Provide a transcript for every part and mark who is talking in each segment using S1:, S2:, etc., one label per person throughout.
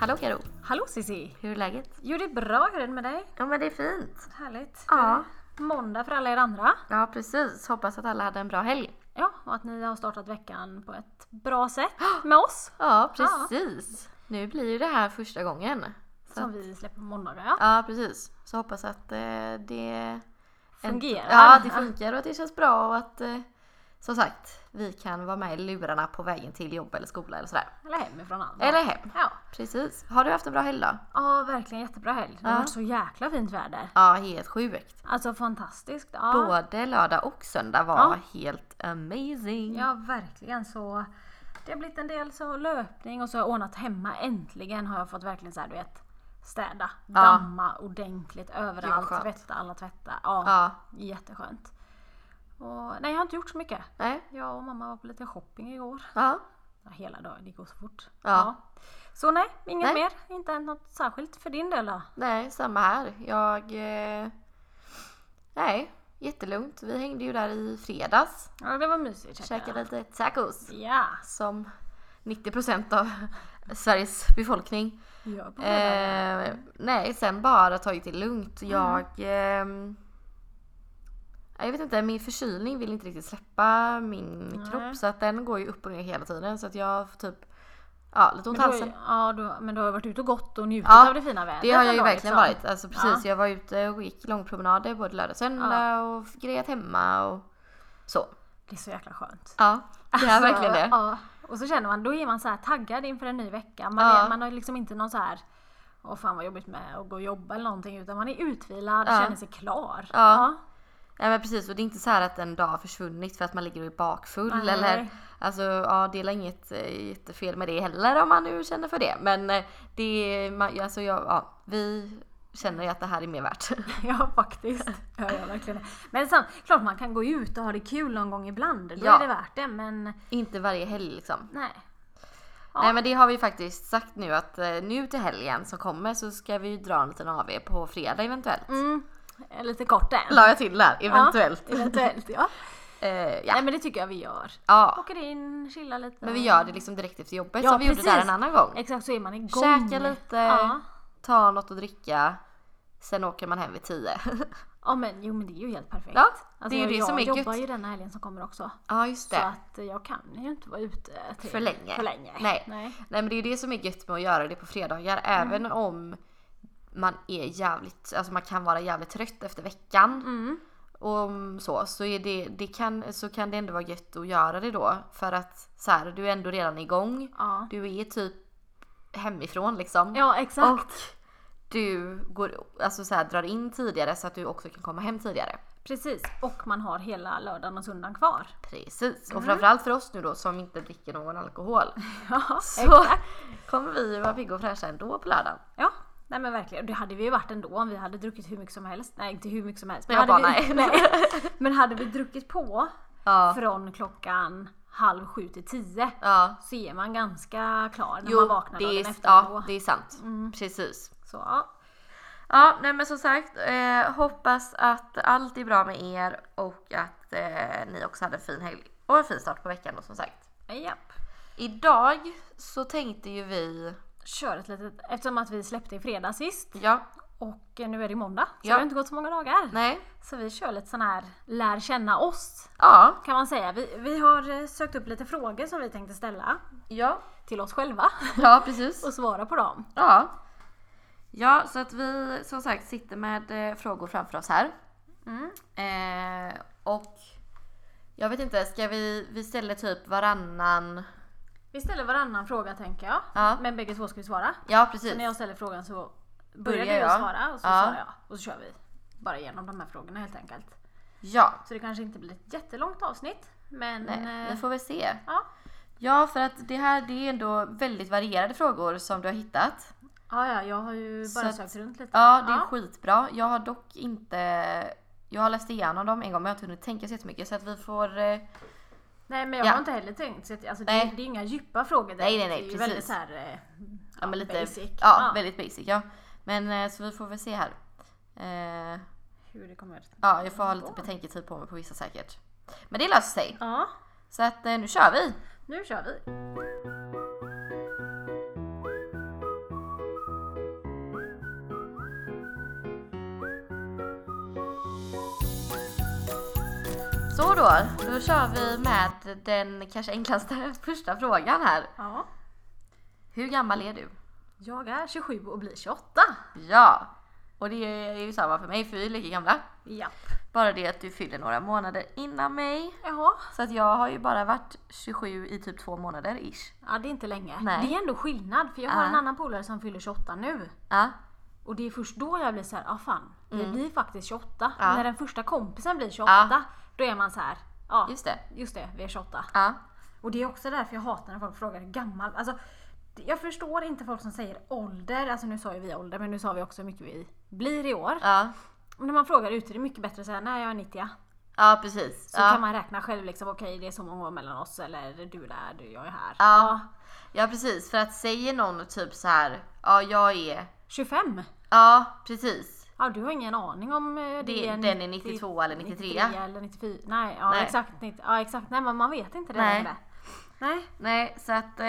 S1: Hallå Karo,
S2: Hallå Cissi!
S1: hur är läget?
S2: Jo det är bra, hur är det med dig?
S1: Ja men det är fint.
S2: Härligt.
S1: Ja.
S2: Det är Måndag för alla er andra.
S1: Ja precis, hoppas att alla hade en bra helg.
S2: Ja, och att ni har startat veckan på ett bra sätt med oss.
S1: Ja precis. Nu blir ju det här första gången. Så
S2: Som
S1: att,
S2: vi släpper på måndagar. Ja.
S1: ja precis. Så hoppas att eh, det
S2: Fungerar.
S1: Ja, det funkar och att det känns bra och att eh, som sagt, vi kan vara med i lurarna på vägen till jobb eller skola eller sådär.
S2: Eller hemifrån andra.
S1: Eller hem.
S2: Ja.
S1: Precis. Har du haft en bra helg då?
S2: ja, verkligen jättebra helg. Det har
S1: Ja.
S2: varit så jäkla fint väder.
S1: Ja, helt sjukt.
S2: Alltså fantastiskt. Ja.
S1: Både lördag och söndag var
S2: Ja.
S1: helt amazing.
S2: ja, verkligen så. Det har blivit en del så löpning och så har jag ordnat hemma. Äntligen har jag fått verkligen så här, du vet, städa, damma ordentligt överallt,
S1: skönt.
S2: tvätta alla tvätta. Ja,
S1: Ja.
S2: Jätteskönt. Och, nej, jag har inte gjort så mycket.
S1: Nej.
S2: Jag och mamma var på lite shopping igår.
S1: Ja.
S2: Ja, hela dagen, det går så fort.
S1: Ja.
S2: Så nej,
S1: Nej.
S2: inget mer. Inte hänt något särskilt för din del då?
S1: Nej, samma här. Jag... Eh, nej, jättelugnt. Vi hängde ju där i fredags.
S2: Ja, det var mysigt.
S1: Käkade lite tacos.
S2: Ja,
S1: Som 90% av Sveriges befolkning.
S2: gör på fredag.
S1: Eh, nej, sen bara tagit det lugnt.
S2: Mm.
S1: Jag... ehm, jag vet inte, min förkylning vill inte riktigt släppa min
S2: Nej.
S1: kropp så att den går ju upp och ner hela tiden så att jag får typ ja, lite ont
S2: Men
S1: i
S2: du, har
S1: halsen.
S2: ju- ja, du, men du har ju varit ute och gått och njutit
S1: Ja,
S2: av det fina vädret.
S1: Det har jag ju
S2: ändå,
S1: verkligen
S2: liksom.
S1: varit. Alltså precis, jag var ute och gick långpromenader både lördag och söndag och grejat hemma och så.
S2: Det är så jäkla skönt.
S1: Ja, det är verkligen det.
S2: Alltså, Ja. Och så känner man, då är man så här taggad inför en ny vecka. Man,
S1: Ja.
S2: är, man har liksom inte någon så här, åh fan vad jobbigt med att gå och jobba eller någonting. Utan man är utvilad,
S1: Ja.
S2: känner sig klar.
S1: Ja. Nej men precis, och det är inte så här att en dag har försvunnit för att man ligger och är bakfull
S2: Nej.
S1: eller Alltså ja, det är väl inget eh, jättefel med det heller om man nu känner för det. Men eh, det är, man, alltså jag, ja, vi känner ju att det här är mer värt.
S2: Ja faktiskt. Ja, ja, verkligen. Men sen, klart man kan gå ut och ha det kul någon gång ibland. Då
S1: Ja.
S2: är det värt det. Men
S1: inte varje helg liksom.
S2: nej. Ja.
S1: Nej men det har vi faktiskt sagt nu att eh, nu till helgen som kommer så ska vi ju dra en liten AV på fredag eventuellt.
S2: Mm, eh, lite kort än.
S1: La jag till där, eventuellt.
S2: Ja, eventuellt ja.
S1: Eh, ja.
S2: Nej men det tycker jag vi gör.
S1: ja.
S2: Åker in, chillar lite.
S1: Men vi gör det liksom direkt efter jobbet
S2: Ja,
S1: som vi gjorde där
S2: precis.
S1: en annan gång.
S2: Exakt så är man igång.
S1: Käka lite,
S2: Ja.
S1: ta något att dricka, sen åker man hem vid tio.
S2: ja men jo men det är ju helt perfekt.
S1: Ja,
S2: Alltså,
S1: det är ju det
S2: jag
S1: som är
S2: Jag jobbar
S1: gött.
S2: ju denna helgen som kommer också.
S1: ja just
S2: Så
S1: det.
S2: att eh, jag kan ju inte vara ute till
S1: För länge.
S2: För länge.
S1: Nej.
S2: nej.
S1: Nej men det är ju det som är gött med att göra det på fredagar
S2: Mm.
S1: även om man är jävligt, alltså man kan vara jävligt trött efter veckan.
S2: Mm.
S1: Och om så, så, är det, det kan, så kan det ändå vara gött att göra det då. För att så här, du är ändå redan igång.
S2: Ja.
S1: Du är typ hemifrån liksom.
S2: ja exakt.
S1: Och du går, alltså så här, drar in tidigare så att du också kan komma hem tidigare.
S2: Precis. Och man har hela lördagen och söndagen kvar.
S1: Precis. Och framförallt för oss nu då som inte dricker någon alkohol.
S2: Ja,
S1: Så
S2: exakt.
S1: kommer vi ju vara pigga och fräscha ändå på lördagen.
S2: Ja, nej men verkligen. Det hade vi ju varit ändå om vi hade druckit hur mycket som helst. Nej, inte hur mycket som helst. Men,
S1: Jag
S2: hade,
S1: bara,
S2: vi,
S1: nej.
S2: men hade vi druckit på
S1: Ja.
S2: från klockan halv sju till tio
S1: Ja.
S2: så är man ganska klar när man
S1: Jo,
S2: vaknar
S1: det
S2: dagen
S1: är,
S2: efter.
S1: ja, det är sant. Precis.
S2: Så ja.
S1: Mm. Ja, nej men som sagt, eh, hoppas att allt är bra med er och att eh, ni också hade en fin helg och en fin start på veckan då som sagt.
S2: Japp.
S1: Idag så tänkte ju vi,
S2: Kör ett litet, eftersom att vi släppte i fredag sist
S1: ja,
S2: och eh, nu är det måndag så
S1: Ja.
S2: det har inte gått så många dagar.
S1: nej,
S2: Så vi kör lite sån här lär känna oss
S1: ja,
S2: kan man säga. Vi, vi har eh, sökt upp lite frågor som vi tänkte ställa
S1: ja,
S2: till oss själva
S1: ja precis.
S2: och svara på dem.
S1: Ja. ja, så att vi som sagt sitter med eh, frågor framför oss här. Mm. Eh, och jag vet inte, ska vi, vi ställer typ varannan,
S2: Vi ställer varannan fråga tänker jag.
S1: Ja.
S2: Men bägge två ska vi svara.
S1: ja
S2: Så
S1: precis.
S2: när jag ställer frågan så börjar
S1: Börjar
S2: du
S1: jag.
S2: att svara och så
S1: Ja.
S2: svarar jag. Och så kör vi bara igenom de här frågorna helt enkelt.
S1: Ja,
S2: Så det kanske inte blir ett jättelångt avsnitt. Men
S1: nej,
S2: eh,
S1: vi får väl se.
S2: ja.
S1: Ja, för att det här det är ändå väldigt varierade frågor som du har hittat.
S2: Ja, ja, jag har ju bara
S1: att-
S2: sökt runt lite.
S1: Ja, det är skitbra. Jag har dock inte... Jag har läst igenom dem en gång men jag har inte hunnit tänka så jättemycket så att vi får... eh,
S2: Nej men jag
S1: Ja.
S2: har inte heller tänkt. Så att, alltså, det,
S1: Nej.
S2: det är inga djupa frågor direkt.
S1: Nej, nej, nej,
S2: Det är ju
S1: precis.
S2: väldigt såhär... Eh,
S1: Ja, men lite,
S2: basic.
S1: Ja, väldigt basic ja. Men eh, så vi får väl se här. Eh,
S2: Hur det kommer...
S1: ja, jag får ha lite betänketid på mig på vissa säkert. Men det löser sig.
S2: Ja,
S1: Så att eh, nu kör vi!
S2: nu kör vi.
S1: Så då, då kör vi med den kanske enklaste första frågan här.
S2: Ja.
S1: Hur gammal är du?
S2: Jag är 27 och blir 28.
S1: Ja, och det är ju samma för mig för vi är lika gamla.
S2: Japp.
S1: Bara det att du fyller några månader innan mig.
S2: Jaha.
S1: Så att jag har ju bara varit 27 i typ två månader ish.
S2: Ja, det är inte länge.
S1: Nej.
S2: Det är ändå skillnad för jag har
S1: Ja.
S2: en annan polare som fyller 28 nu.
S1: Ja,
S2: Och det är först då jag blir så här, ah fan, vi blir faktiskt 28.
S1: Mm. Ja.
S2: När den första kompisen blir 28,
S1: Ja.
S2: då är man så här, ja
S1: just det.
S2: just det, vi är 28.
S1: Ja,
S2: Och det är också därför jag hatar när folk frågar hur gammal. Alltså, det- jag förstår inte folk som säger ålder, alltså nu sa ju vi ålder men nu sa vi också hur mycket vi blir i år.
S1: ja,
S2: Men när man frågar ute det är mycket bättre att säga nej jag är 90
S1: ja precis.
S2: Så
S1: Ja.
S2: kan man räkna själv liksom, okej det är så många år mellan oss eller du är där, du, jag är här.
S1: Ja. ja, precis. För att säger någon typ så här, ja jag är,
S2: 25?
S1: ja precis.
S2: Ja du har ingen aning om eh, det,
S1: Det- den är 92 eller 93.
S2: 93 eller 94, nej, ja,
S1: Nej.
S2: Exakt, 90 ja exakt, nej men man vet inte det
S1: Nej.
S2: längre. Nej.
S1: Nej, så att eh,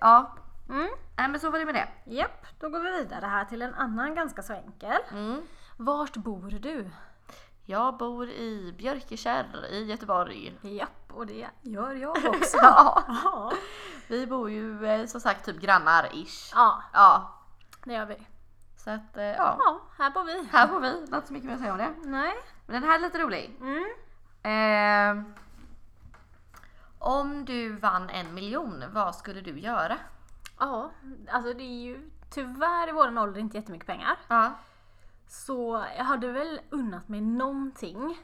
S1: ja.
S2: Mm.
S1: Nej men så var det med det.
S2: Japp, då går vi vidare här till en annan ganska så enkel.
S1: Mm.
S2: Vart bor du?
S1: Jag bor i Björkekärr i Göteborg.
S2: Japp, och det gör jag också.
S1: Ja.
S2: ja.
S1: Vi bor ju eh, som sagt typ grannar ish.
S2: ja,
S1: Ja.
S2: det gör vi.
S1: Så att eh, ja.
S2: Ja, här bor vi.
S1: Här bor vi, inte så mycket mer att säga om det.
S2: Nej.
S1: Men den här är lite rolig.
S2: Mm.
S1: Ehm, om du vann en miljon, vad skulle du göra?
S2: Ja, alltså det är ju tyvärr i våran ålder inte jättemycket pengar.
S1: Ja.
S2: Så jag hade väl unnat mig någonting.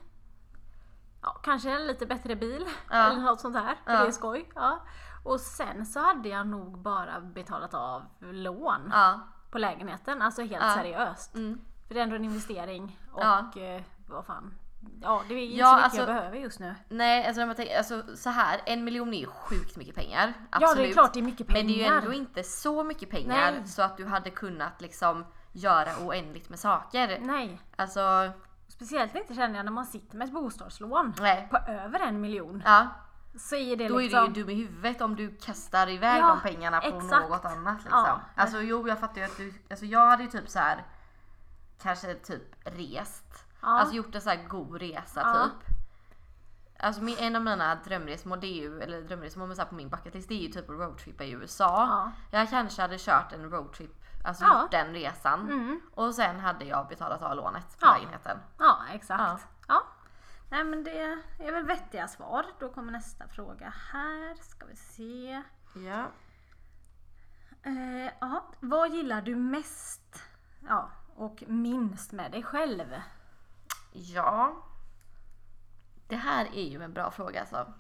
S2: Ja, kanske en lite bättre bil
S1: Ja.
S2: eller något sånt där. för
S1: Ja.
S2: Det är skoj. Ja. Och sen så hade jag nog bara betalat av lån
S1: Ja.
S2: på lägenheten. Alltså helt
S1: Ja.
S2: seriöst.
S1: Mm.
S2: För det är ändå en investering och
S1: Ja.
S2: eh, vad fan. Ja, det är ju inte
S1: Ja,
S2: så mycket
S1: alltså-
S2: jag behöver just nu.
S1: Nej, alltså, när man tänker, alltså så här, en miljon är ju sjukt mycket pengar.
S2: Ja, det är
S1: Absolut.
S2: klart det är mycket pengar.
S1: Men det är ju ändå inte så mycket pengar
S2: Nej.
S1: så att du hade kunnat liksom göra oändligt med saker.
S2: Nej,
S1: Alltså,
S2: speciellt inte känner jag när man sitter med ett bostadslån
S1: nej.
S2: på över en miljon.
S1: Ja,
S2: Så är det
S1: då är
S2: liksom...
S1: du ju dum i huvudet om du kastar iväg
S2: Ja,
S1: de pengarna på
S2: exakt.
S1: något annat liksom.
S2: Ja.
S1: Alltså jo, jag fattar ju att du, alltså jag hade ju typ så här kanske typ rest.
S2: ja.
S1: Alltså gjort en så här god resa
S2: Ja.
S1: typ. Alltså min- en av mina drömresmål, det är ju, eller drömresmål men så här på min bucketlist, det är ju typ att roadtrippa i USA.
S2: ja.
S1: Jag kanske hade kört en roadtrip, alltså
S2: Ja.
S1: gjort den resan.
S2: Mm.
S1: Och sen hade jag betalat av lånet på
S2: Ja.
S1: lägenheten.
S2: ja, exakt.
S1: Ja.
S2: Ja. Nej men det är väl vettiga svar. Då kommer nästa fråga här. Ska vi se.
S1: Ja.
S2: Eh, ja. Vad gillar du mest? Ja, och minst med dig själv?
S1: Ja. Det här är ju en bra fråga alltså.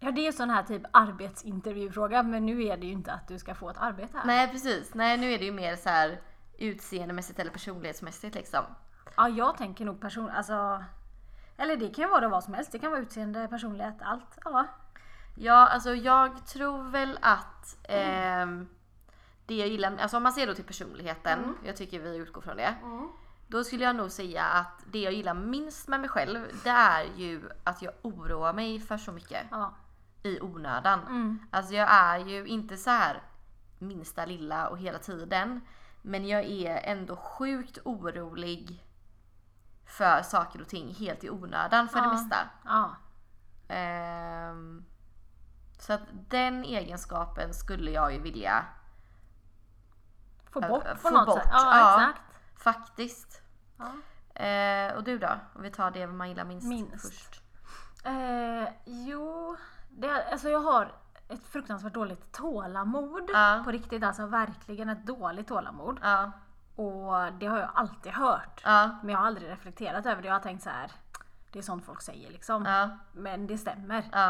S2: Ja det är sån här typ arbetsintervjufråga men nu är det ju inte att du ska få ett arbete här.
S1: Nej precis, nej nu är det ju mer så här utseendemässigt eller personlighetsmässigt liksom.
S2: Ja jag tänker nog person, alltså eller det kan ju vara vad som helst. Det kan vara utseende, personlighet, allt. Ja.
S1: Ja alltså jag tror väl att ehm, det jag gillar, alltså om man ser då till personligheten, jag tycker vi utgår från det. Då skulle jag nog säga att det jag gillar minst med mig själv det är ju att jag oroar mig för så mycket
S2: ja.
S1: i onödan.
S2: Mm.
S1: Alltså jag är ju inte så här minsta lilla och hela tiden. Men jag är ändå sjukt orolig för saker och ting helt i onödan för det
S2: Ja.
S1: mesta.
S2: ja.
S1: Ehm, så att den egenskapen skulle jag ju vilja
S2: Få
S1: Ja,
S2: bort på
S1: få
S2: något
S1: bort,
S2: sätt. Ja,
S1: ja.
S2: exakt.
S1: faktiskt.
S2: Ja.
S1: Ehm, och du då? Om vi tar det man gillar minst,
S2: Minst.
S1: först.
S2: Eh, jo, det, alltså jag har ett fruktansvärt dåligt tålamod.
S1: Ja.
S2: På riktigt alltså, verkligen ett dåligt tålamod.
S1: Ja,
S2: Och det har jag alltid hört.
S1: ja,
S2: Men jag har aldrig reflekterat över det. Jag har tänkt så här. det är sånt folk säger liksom.
S1: ja,
S2: Men det stämmer.
S1: ja,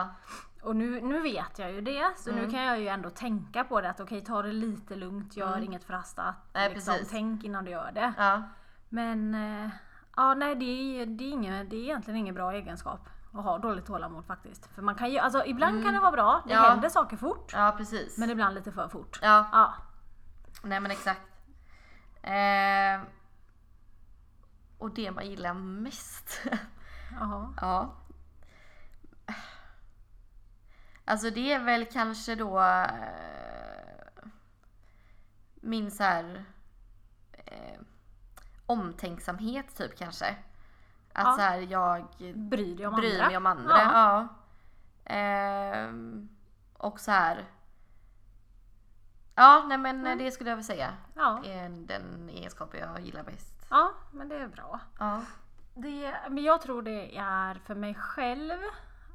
S1: Mm.
S2: Och nu, nu vet jag ju det, så nu kan jag ju ändå tänka på det att okej, ta det lite lugnt, gör inget förhastat.
S1: Mm. Nej,
S2: liksom,
S1: precis.
S2: tänk innan du gör det.
S1: ja.
S2: Men eh, ja, nej, det är, det, är ingen, det är egentligen ingen bra egenskap att ha dåligt tålamod faktiskt. För man kan ju, alltså ibland kan det vara bra, det
S1: Mm. Ja.
S2: händer saker fort.
S1: Ja, precis.
S2: Men ibland lite för fort.
S1: Ja,
S2: Ja,
S1: Nej men exakt. Eh, och det man gillar mest.
S2: jaha.
S1: ja. Alltså det är väl kanske då eh, min så här eh, omtänksamhet typ kanske. Att
S2: Ja.
S1: så här, jag
S2: Bryr dig om
S1: bryr
S2: andra.
S1: mig om andra.
S2: Ja.
S1: Ja. Ehm, och så här. Ja, nej men
S2: Mm.
S1: eh, det skulle jag väl säga
S2: Ja.
S1: är den egenskap jag gillar bäst.
S2: ja, men det är bra.
S1: Ja.
S2: Det, men jag tror det är för mig själv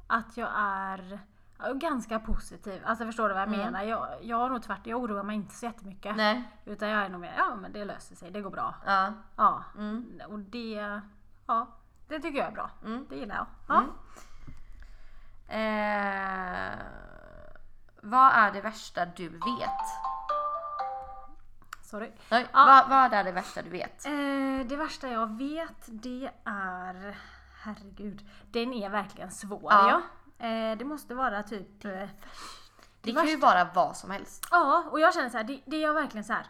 S2: att jag är ja, ganska positiv. Alltså förstår du vad jag menar? Jag, jag har nog tvärtom, jag oroar mig inte så jättemycket.
S1: Mm. Nej.
S2: Utan jag är nog mer, ja men det löser sig, det går bra.
S1: Ja.
S2: Ja.
S1: Mm.
S2: Och det, ja, det tycker jag är bra.
S1: Mm.
S2: Det gillar jag. Ja.
S1: Mm. Eh, vad är det värsta du vet?
S2: Sorry.
S1: Oj,
S2: Ja.
S1: vad, vad är det värsta du vet?
S2: Eh, det värsta jag vet det är, herregud, den är verkligen svår
S1: Ja.
S2: ja. Eh, det måste vara typ eh,
S1: Det, kan ju vara vad som helst.
S2: Ja, och jag känner så här, det, det jag verkligen så här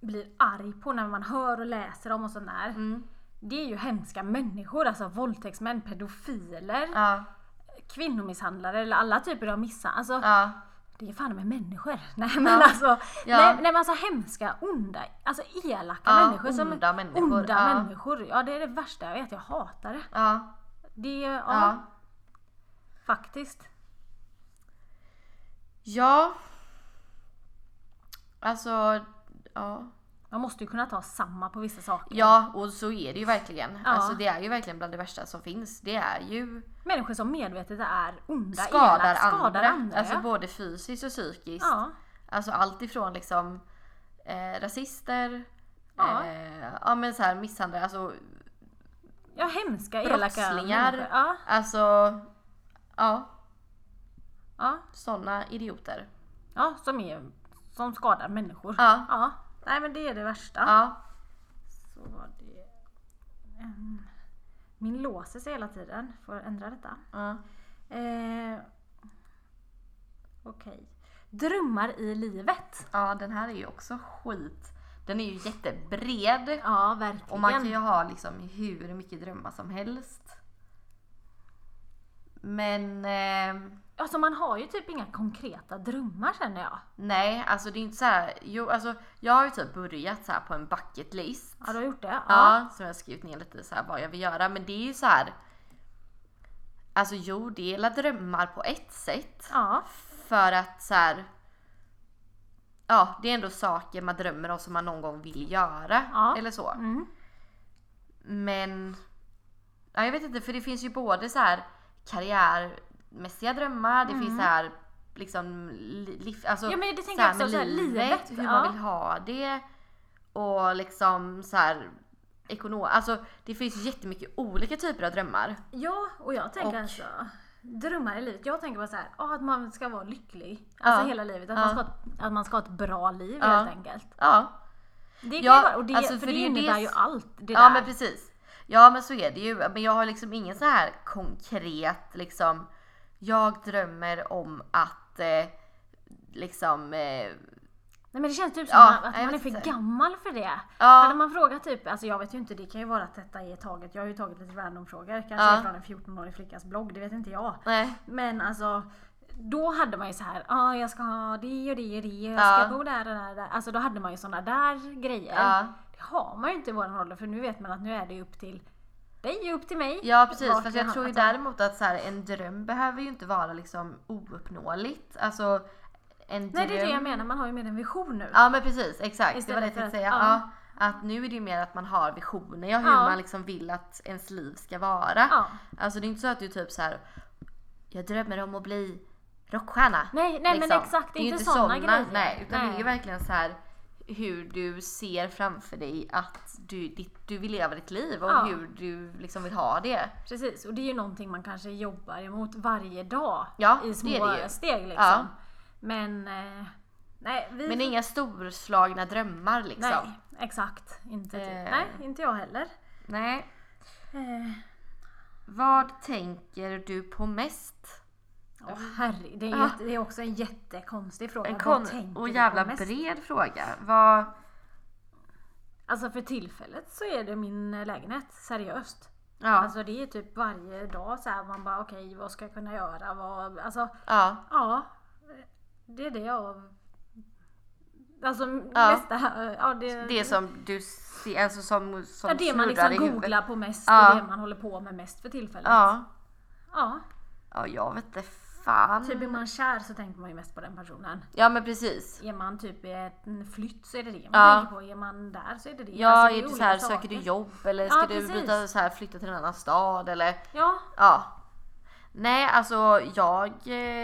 S2: blir arg på när man hör och läser om och sånt där.
S1: Mm.
S2: Det är ju hemska människor, alltså våldtäktsmän, pedofiler,
S1: Ja.
S2: kvinnomisshandlare eller alla typer av misshandel. Alltså,
S1: Ja.
S2: det är fan med människor. Nej men alltså,
S1: Ja.
S2: nej, nej men alltså hemska, onda, alltså elaka
S1: Ja,
S2: människor.
S1: onda människor,
S2: Onda
S1: ja.
S2: människor. Ja det är det värsta jag vet, jag hatar det.
S1: Ja.
S2: Det, ja,
S1: Ja.
S2: faktiskt.
S1: Ja. Alltså, ja.
S2: Man måste ju kunna ta samma på vissa saker.
S1: Ja, och så är det ju verkligen.
S2: Ja.
S1: Alltså det är ju verkligen bland det värsta som finns. Det är ju
S2: Människor som medvetet är onda,
S1: skadar,
S2: elaka, skadar
S1: andra.
S2: andra.
S1: Alltså
S2: ja.
S1: både fysiskt och psykiskt.
S2: ja.
S1: Alltså allt ifrån liksom eh, rasister,
S2: Ja.
S1: Eh, ja men så här misshandlare, alltså,
S2: Ja, hemska, elaka
S1: Brottslingar.
S2: människor. Ja,
S1: alltså ja,
S2: ja,
S1: sådana idioter.
S2: ja, som, är, som skadar människor.
S1: Ja,
S2: Ja. Nej men det är det värsta.
S1: ja,
S2: Så var det... Ehm, Min låser sig hela tiden. Får jag ändra detta.
S1: ja.
S2: Eh, Okej. Drömmar i livet.
S1: ja den här är ju också skit. Den är ju jättebred
S2: Ja, verkligen.
S1: och man kan ju ha liksom hur mycket drömmar som helst. Men eh,
S2: Alltså man har ju typ inga konkreta drömmar känner jag.
S1: nej, alltså det är inte så här, jo, alltså jag har ju typ börjat så här på en bucket list.
S2: Ja, du har gjort det?
S1: Ja, som jag har skrivit ner lite så här vad jag vill göra. Men det är ju så här. Alltså jo, det är alla drömmar på ett sätt.
S2: Ja.
S1: För att så här. Ja, det är ändå saker man drömmer om som man någon gång vill göra.
S2: Ja.
S1: Eller så.
S2: Mm.
S1: Men. Ja, jag vet inte, för det finns ju både så här karriärmässiga drömmar. Det finns så här liksom li- liv, alltså,
S2: Mm. Ja, men det
S1: så
S2: tänker
S1: här
S2: jag också,
S1: med
S2: så här, livet,
S1: hur
S2: ja.
S1: man vill ha det. Och liksom så här ekonom, alltså det finns ju jättemycket olika typer av drömmar.
S2: Ja, och jag tänker
S1: Och-
S2: alltså drömmar i livet. Jag tänker bara så här, ja, att man ska vara lycklig. Alltså
S1: Ja.
S2: hela livet. Att,
S1: Ja.
S2: man ska, ha ett- att man ska ha ett bra liv
S1: Ja.
S2: helt enkelt.
S1: Ja,
S2: Det kan
S1: Ja,
S2: ju vara, och det,
S1: alltså,
S2: för,
S1: för
S2: det,
S1: det är ju
S2: innebär
S1: det-
S2: ju allt det
S1: ja
S2: där.
S1: men precis. Ja men så är det ju, men jag har liksom ingen så här konkret liksom, jag drömmer om att eh, liksom, eh,
S2: Nej, men det känns typ som
S1: Ja,
S2: att
S1: jag
S2: man är
S1: vet
S2: för
S1: inte.
S2: gammal för det. Hade
S1: ja,
S2: man frågat typ, alltså jag vet ju inte, det kan ju vara att detta är taget. Jag har ju tagit lite randomfrågor, kanske
S1: Ja.
S2: från en 14-årig flickas blogg, det vet inte jag.
S1: nej,
S2: Men alltså, då hade man ju så här, ja ah, jag ska ha det och det och det, jag
S1: Ja.
S2: ska bo där och där, och där. Alltså då hade man ju sådana där grejer.
S1: ja.
S2: Det har man ju inte i våran ålder för nu vet man att nu är det ju upp till dig och upp till mig.
S1: Ja precis,
S2: Vart
S1: fast
S2: vi
S1: jag
S2: hamnar.
S1: tror ju däremot att så här, en dröm behöver ju inte vara liksom ouppnåeligt. Alltså en dröm...
S2: Nej det är det jag menar, man har ju mer en vision nu.
S1: Ja men precis, exakt. det var
S2: Istället
S1: det jag tänkte
S2: för
S1: säga.
S2: att-
S1: Ja.
S2: ja.
S1: Att nu är det ju mer att man har visioner, ja, hur
S2: Ja.
S1: man liksom vill att ens liv ska vara.
S2: Ja.
S1: Alltså det är inte så att du typ så här. jag drömmer om att bli rockstjärna.
S2: Nej, nej men
S1: liksom.
S2: exakt, det är
S1: ju
S2: inte sådana grejer.
S1: Nej, utan det är
S2: Nej.
S1: ju verkligen så här hur du ser framför dig att du, ditt, du vill leva ditt liv och
S2: Ja.
S1: hur du liksom vill ha det.
S2: Precis, och det är ju någonting man kanske jobbar emot varje dag
S1: Ja, det är
S2: i små
S1: det ju.
S2: steg liksom.
S1: Ja.
S2: Men, eh, nej, vi...
S1: Men inga storslagna drömmar liksom.
S2: nej,
S1: Nej.
S2: exakt. Inte, typ.
S1: Eh.
S2: Nej, inte jag heller. Eh,
S1: Vad tänker du på mest?
S2: åh, herre, det, är
S1: Ja.
S2: jätte- det är också en jättekonstig fråga.
S1: En
S2: Vad
S1: kon
S2: tänker
S1: och
S2: du på
S1: jävla
S2: mest?
S1: bred fråga. Vad...
S2: Alltså för tillfället så är det min eh, lägenhet, seriöst.
S1: Ja.
S2: Alltså det är typ varje dag så här man bara okej vad ska jag kunna göra? Vad, alltså
S1: ja.
S2: ja. Det är det jag Alltså
S1: Ja.
S2: nästa, ja det,
S1: Det som du ser, alltså som, som
S2: ja, det man
S1: snurrar
S2: liksom
S1: i huvudet.
S2: googlar på mest
S1: Ja.
S2: och det man håller på med mest för tillfället.
S1: Ja.
S2: Ja,
S1: ja, jag vet inte fan.
S2: Typ är man kär så tänker man ju mest på den personen.
S1: Ja men precis.
S2: Är man typ i en flytt så är det det man
S1: Ja.
S2: tänker på. Är man där så är det det.
S1: Ja,
S2: Alltså, det
S1: är du så
S2: olika
S1: här,
S2: saker.
S1: söker du jobb eller
S2: Ja,
S1: ska du
S2: precis.
S1: byta så här, flytta till en annan stad eller
S2: Ja,
S1: ja. Nej alltså jag,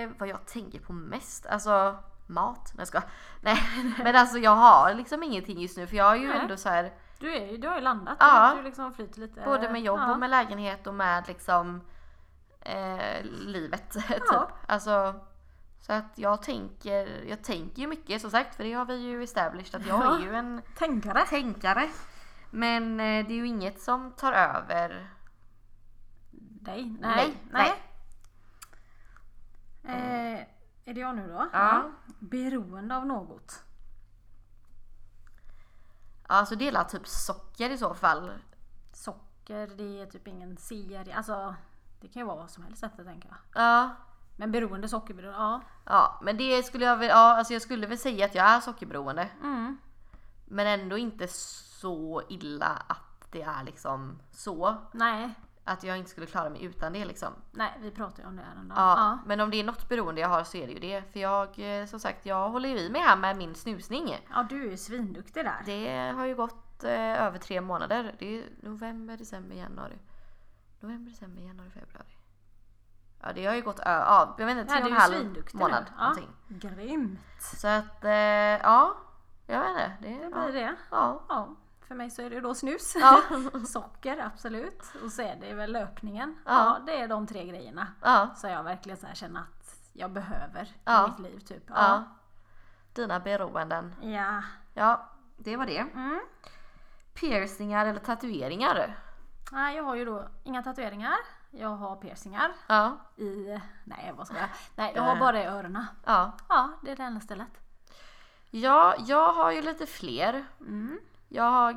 S1: eh, vad jag tänker på mest, alltså mat. Nej jag skojar. Nej men alltså jag har liksom ingenting just nu för jag är ju
S2: Nej.
S1: ändå så här
S2: du, är, ju- du har ju landat.
S1: Ja.
S2: Du liksom flyter lite.
S1: både med jobb
S2: ja.
S1: och med lägenhet och med liksom eh, livet typ.
S2: Ja.
S1: Alltså så att jag tänker, jag tänker ju mycket som sagt för det har vi ju established att jag
S2: Ja.
S1: är ju en
S2: Tänkare.
S1: tänkare. Men eh, det är ju inget som tar över.
S2: Nej, nej,
S1: Nej,
S2: nej.
S1: nej.
S2: Eh, är det jag nu då?
S1: Ja.
S2: Beroende av något.
S1: Alltså det är alla typ socker i så fall.
S2: Socker, det är typ ingen serie. Alltså, det kan ju vara vad som helst detta tänker jag.
S1: Ja.
S2: Men beroende, sockerberoende, ja.
S1: Ja, men det skulle jag väl, ja, alltså jag skulle väl säga att jag är sockerberoende. Men ändå inte så illa att det är liksom så.
S2: Nej,
S1: Att jag inte skulle klara mig utan det liksom.
S2: nej, vi pratar ju om det här ändå.
S1: Ja, Men om det är något beroende jag har så är det ju det. För jag, eh, som sagt, jag håller ju i mig här med min snusning.
S2: ja, du är ju svinduktig där.
S1: Det har ju gått eh, över tre månader. Det är ju november, december, januari. November, december, januari, februari. Ja det har ju gått ö- ja, jag vet inte, tre
S2: Nej,
S1: och
S2: du
S1: en
S2: är ju
S1: halv
S2: svinduktig
S1: månad.
S2: nu. Ja.
S1: Någonting.
S2: Grymt!
S1: Så att eh, ja, jag vet inte. Det,
S2: Det blir
S1: ja.
S2: det.
S1: Ja.
S2: Ja, för mig så är det då snus.
S1: Ja.
S2: Socker, absolut. Och så är det väl löpningen.
S1: Ja.
S2: Ja, det är de tre grejerna.
S1: ja,
S2: Så jag verkligen så här känner att jag behöver
S1: Ja.
S2: i mitt liv. Typ.
S1: ja. Dina beroenden.
S2: Ja. ja.
S1: Ja, det var det.
S2: Mm.
S1: Piercingar eller tatueringar?
S2: Nej, jag har ju då inga tatueringar. Jag har piercingar
S1: Ja,
S2: i... Nej, vad ska jag? Nej, jag har
S1: Äh.
S2: bara i öronen.
S1: ja.
S2: Ja, det är det enda stället.
S1: Ja, jag har ju lite fler.
S2: Mm.
S1: Jag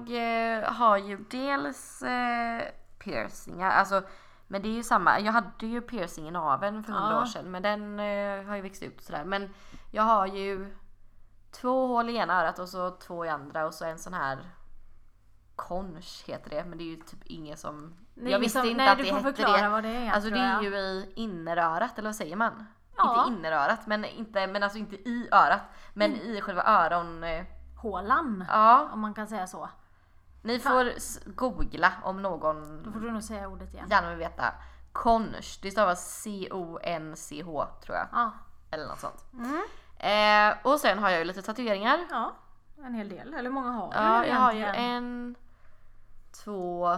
S1: eh, har ju dels eh, piercingar, alltså men det är ju samma. Jag hade ju piercing i naveln för hundra
S2: Ja.
S1: år sedan men den eh, har ju växt ut och sådär. Men jag har ju två hål i ena örat och så två i andra och så en sån här konch heter det men det är ju typ ingen som...
S2: Det är
S1: jag
S2: ingen
S1: visste
S2: som-
S1: inte
S2: nej,
S1: att
S2: du
S1: det
S2: får
S1: hette
S2: förklara
S1: det.
S2: vad det är,
S1: alltså det
S2: tror
S1: är
S2: jag.
S1: ju i innerörat eller vad säger man?
S2: Ja.
S1: Inte innerörat men inte, men alltså inte i örat men i själva öron... Eh,
S2: Hålan,
S1: ja.
S2: om man kan säga så.
S1: Ni får s- googla om någon
S2: Då får du nog säga ordet igen.
S1: gärna vill veta. Conch, det stavas C-O-N-C-H tror jag.
S2: Ja.
S1: Eller något sånt.
S2: Mm.
S1: Eh, och sen har jag ju lite tatueringar.
S2: ja, en hel del. Eller hur många har
S1: Ja,
S2: du
S1: jag har ju
S2: egentligen?
S1: en, två,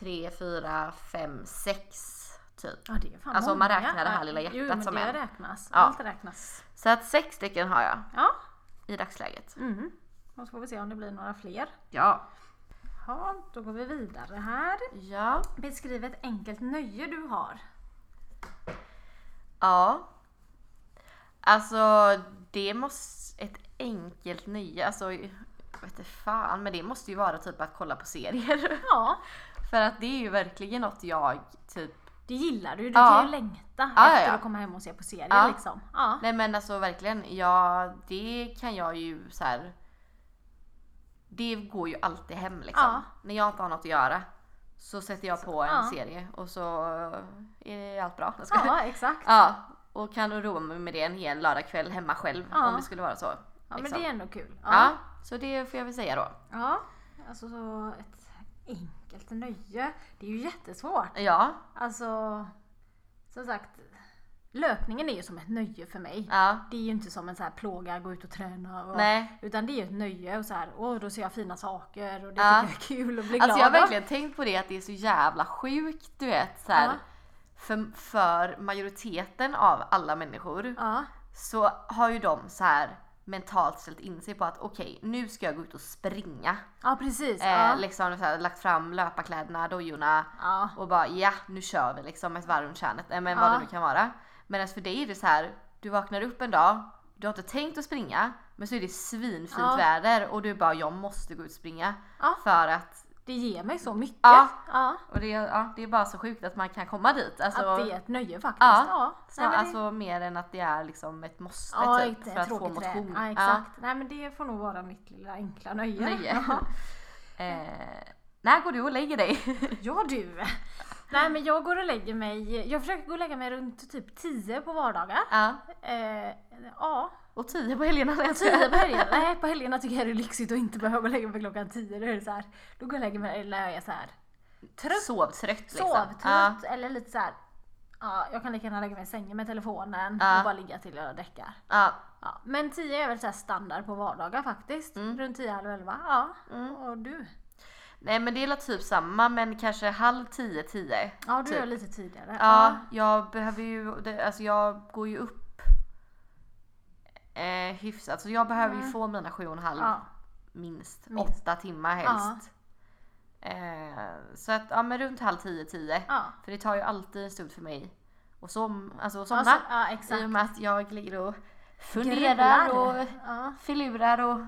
S1: tre, fyra, fem, sex typ.
S2: Ja, det är fan
S1: Alltså, om man
S2: många.
S1: räknar det här lilla hjärtat
S2: jo, men
S1: som
S2: det
S1: en.
S2: räknas.
S1: Ja.
S2: Allt räknas.
S1: Så att sex stycken har jag
S2: Ja.
S1: i dagsläget.
S2: Mm. Och så får vi se om det blir några fler.
S1: Ja.
S2: Ja, då går vi vidare här.
S1: Ja.
S2: Beskriv ett enkelt nöje du har.
S1: Ja. Alltså det måste, ett enkelt nöje, alltså jag vet inte fan men det måste ju vara typ att kolla på serier.
S2: Ja,
S1: För att det är ju verkligen något jag typ,
S2: Det gillar du ju, du
S1: Ja.
S2: kan ju längta
S1: Ja, ja,
S2: efter
S1: ja.
S2: att komma hem och se på serier
S1: Ja.
S2: liksom. Ja.
S1: nej men alltså verkligen, ja det kan jag ju så här. Det går ju alltid hem liksom.
S2: Ja.
S1: När jag inte har något att göra så sätter jag på en
S2: ja.
S1: serie och så är allt bra. Jag skojar.
S2: ja, exakt.
S1: Ja, och kan roa mig med det en hel lördagkväll hemma själv
S2: Ja.
S1: om det skulle vara så.
S2: Ja, men
S1: liksom.
S2: det är ändå kul.
S1: Ja, så det får jag väl säga då.
S2: ja. Alltså så ett enkelt nöje. Det är ju jättesvårt.
S1: Ja,
S2: Alltså, som sagt, löpningen är ju som ett nöje för mig.
S1: ja,
S2: Det är ju inte som en så här plåga, gå ut och träna. Och,
S1: nej.
S2: Utan det är ju ett nöje och så här, åh då ser jag fina saker och det
S1: Ja.
S2: tycker jag är kul och blir glad
S1: Alltså jag har
S2: av.
S1: verkligen tänkt på det att det är så jävla sjukt du vet så här,
S2: Ja.
S1: för, för majoriteten av alla människor
S2: Ja,
S1: så har ju de så här mentalt ställt in sig på att okej nu ska jag gå ut och springa.
S2: ja precis.
S1: Eh,
S2: ja.
S1: liksom så här, lagt fram löparkläderna, dojorna
S2: Ja.
S1: och bara ja nu kör vi liksom ett varv runt kärnet. Eh, men vad
S2: Ja.
S1: det nu kan vara. Medan för dig är det så här, du vaknar upp en dag, du har inte tänkt att springa men så är det svinfint
S2: Ja.
S1: väder och du bara jag måste gå ut och springa.
S2: Ja.
S1: För att
S2: Det ger mig så mycket.
S1: Ja.
S2: Ja.
S1: Och det, ja, det är bara så sjukt att man kan komma dit. Alltså,
S2: Att det är ett nöje faktiskt.
S1: Ja.
S2: Ja,
S1: snar,
S2: Nej, men det-
S1: alltså mer än att det är liksom ett måste
S2: ja
S1: typ,
S2: inte
S1: för att få
S2: tråkigt det.
S1: motion.
S2: Ja, exakt. Nej men det får nog vara mitt lilla enkla nöje.
S1: Nöje.
S2: Ja.
S1: Eh, när går du och lägger dig?
S2: Ja du! Nej men jag går och lägger mig, jag försöker gå och lägga mig runt typ 10 på vardagar.
S1: ja.
S2: Eh, ja,
S1: Och tio på helgerna när jag
S2: 10 på helgerna. Nej på helgerna tycker jag det är lyxigt att inte behöva lägga mig klockan 10. Då, är det så här, då går jag och lägger mig när jag är så här trött,
S1: Sovtrött liksom.
S2: sovtrött
S1: Ja.
S2: eller lite så här. Ja, jag kan lika gärna lägga mig i sängen med telefonen
S1: Ja.
S2: och bara ligga till jag däckar.
S1: Ja.
S2: Ja, men 10 är väl så här standard på vardagar faktiskt.
S1: Mm.
S2: Runt 10, halv 11. Ja.
S1: Mm.
S2: Och du?
S1: Nej men det är väl typ samma men kanske halv tio, tio.
S2: Ja, du
S1: Typ.
S2: är lite tidigare.
S1: Ja, jag behöver ju, det, alltså jag går ju upp eh, hyfsat. Så jag behöver ju
S2: Mm.
S1: få mina sju och en halv
S2: ja.
S1: minst,
S2: Minst.
S1: Åtta timmar helst. Eh, så att, ja men runt halv tio, tio.
S2: ja.
S1: För det tar ju alltid en stund för mig att som, alltså, att
S2: Ja,
S1: somna.
S2: så- ja,
S1: I
S2: exakt.
S1: och med att jag ligger och funderar
S2: Grubblar.
S1: och
S2: ja,
S1: filurar och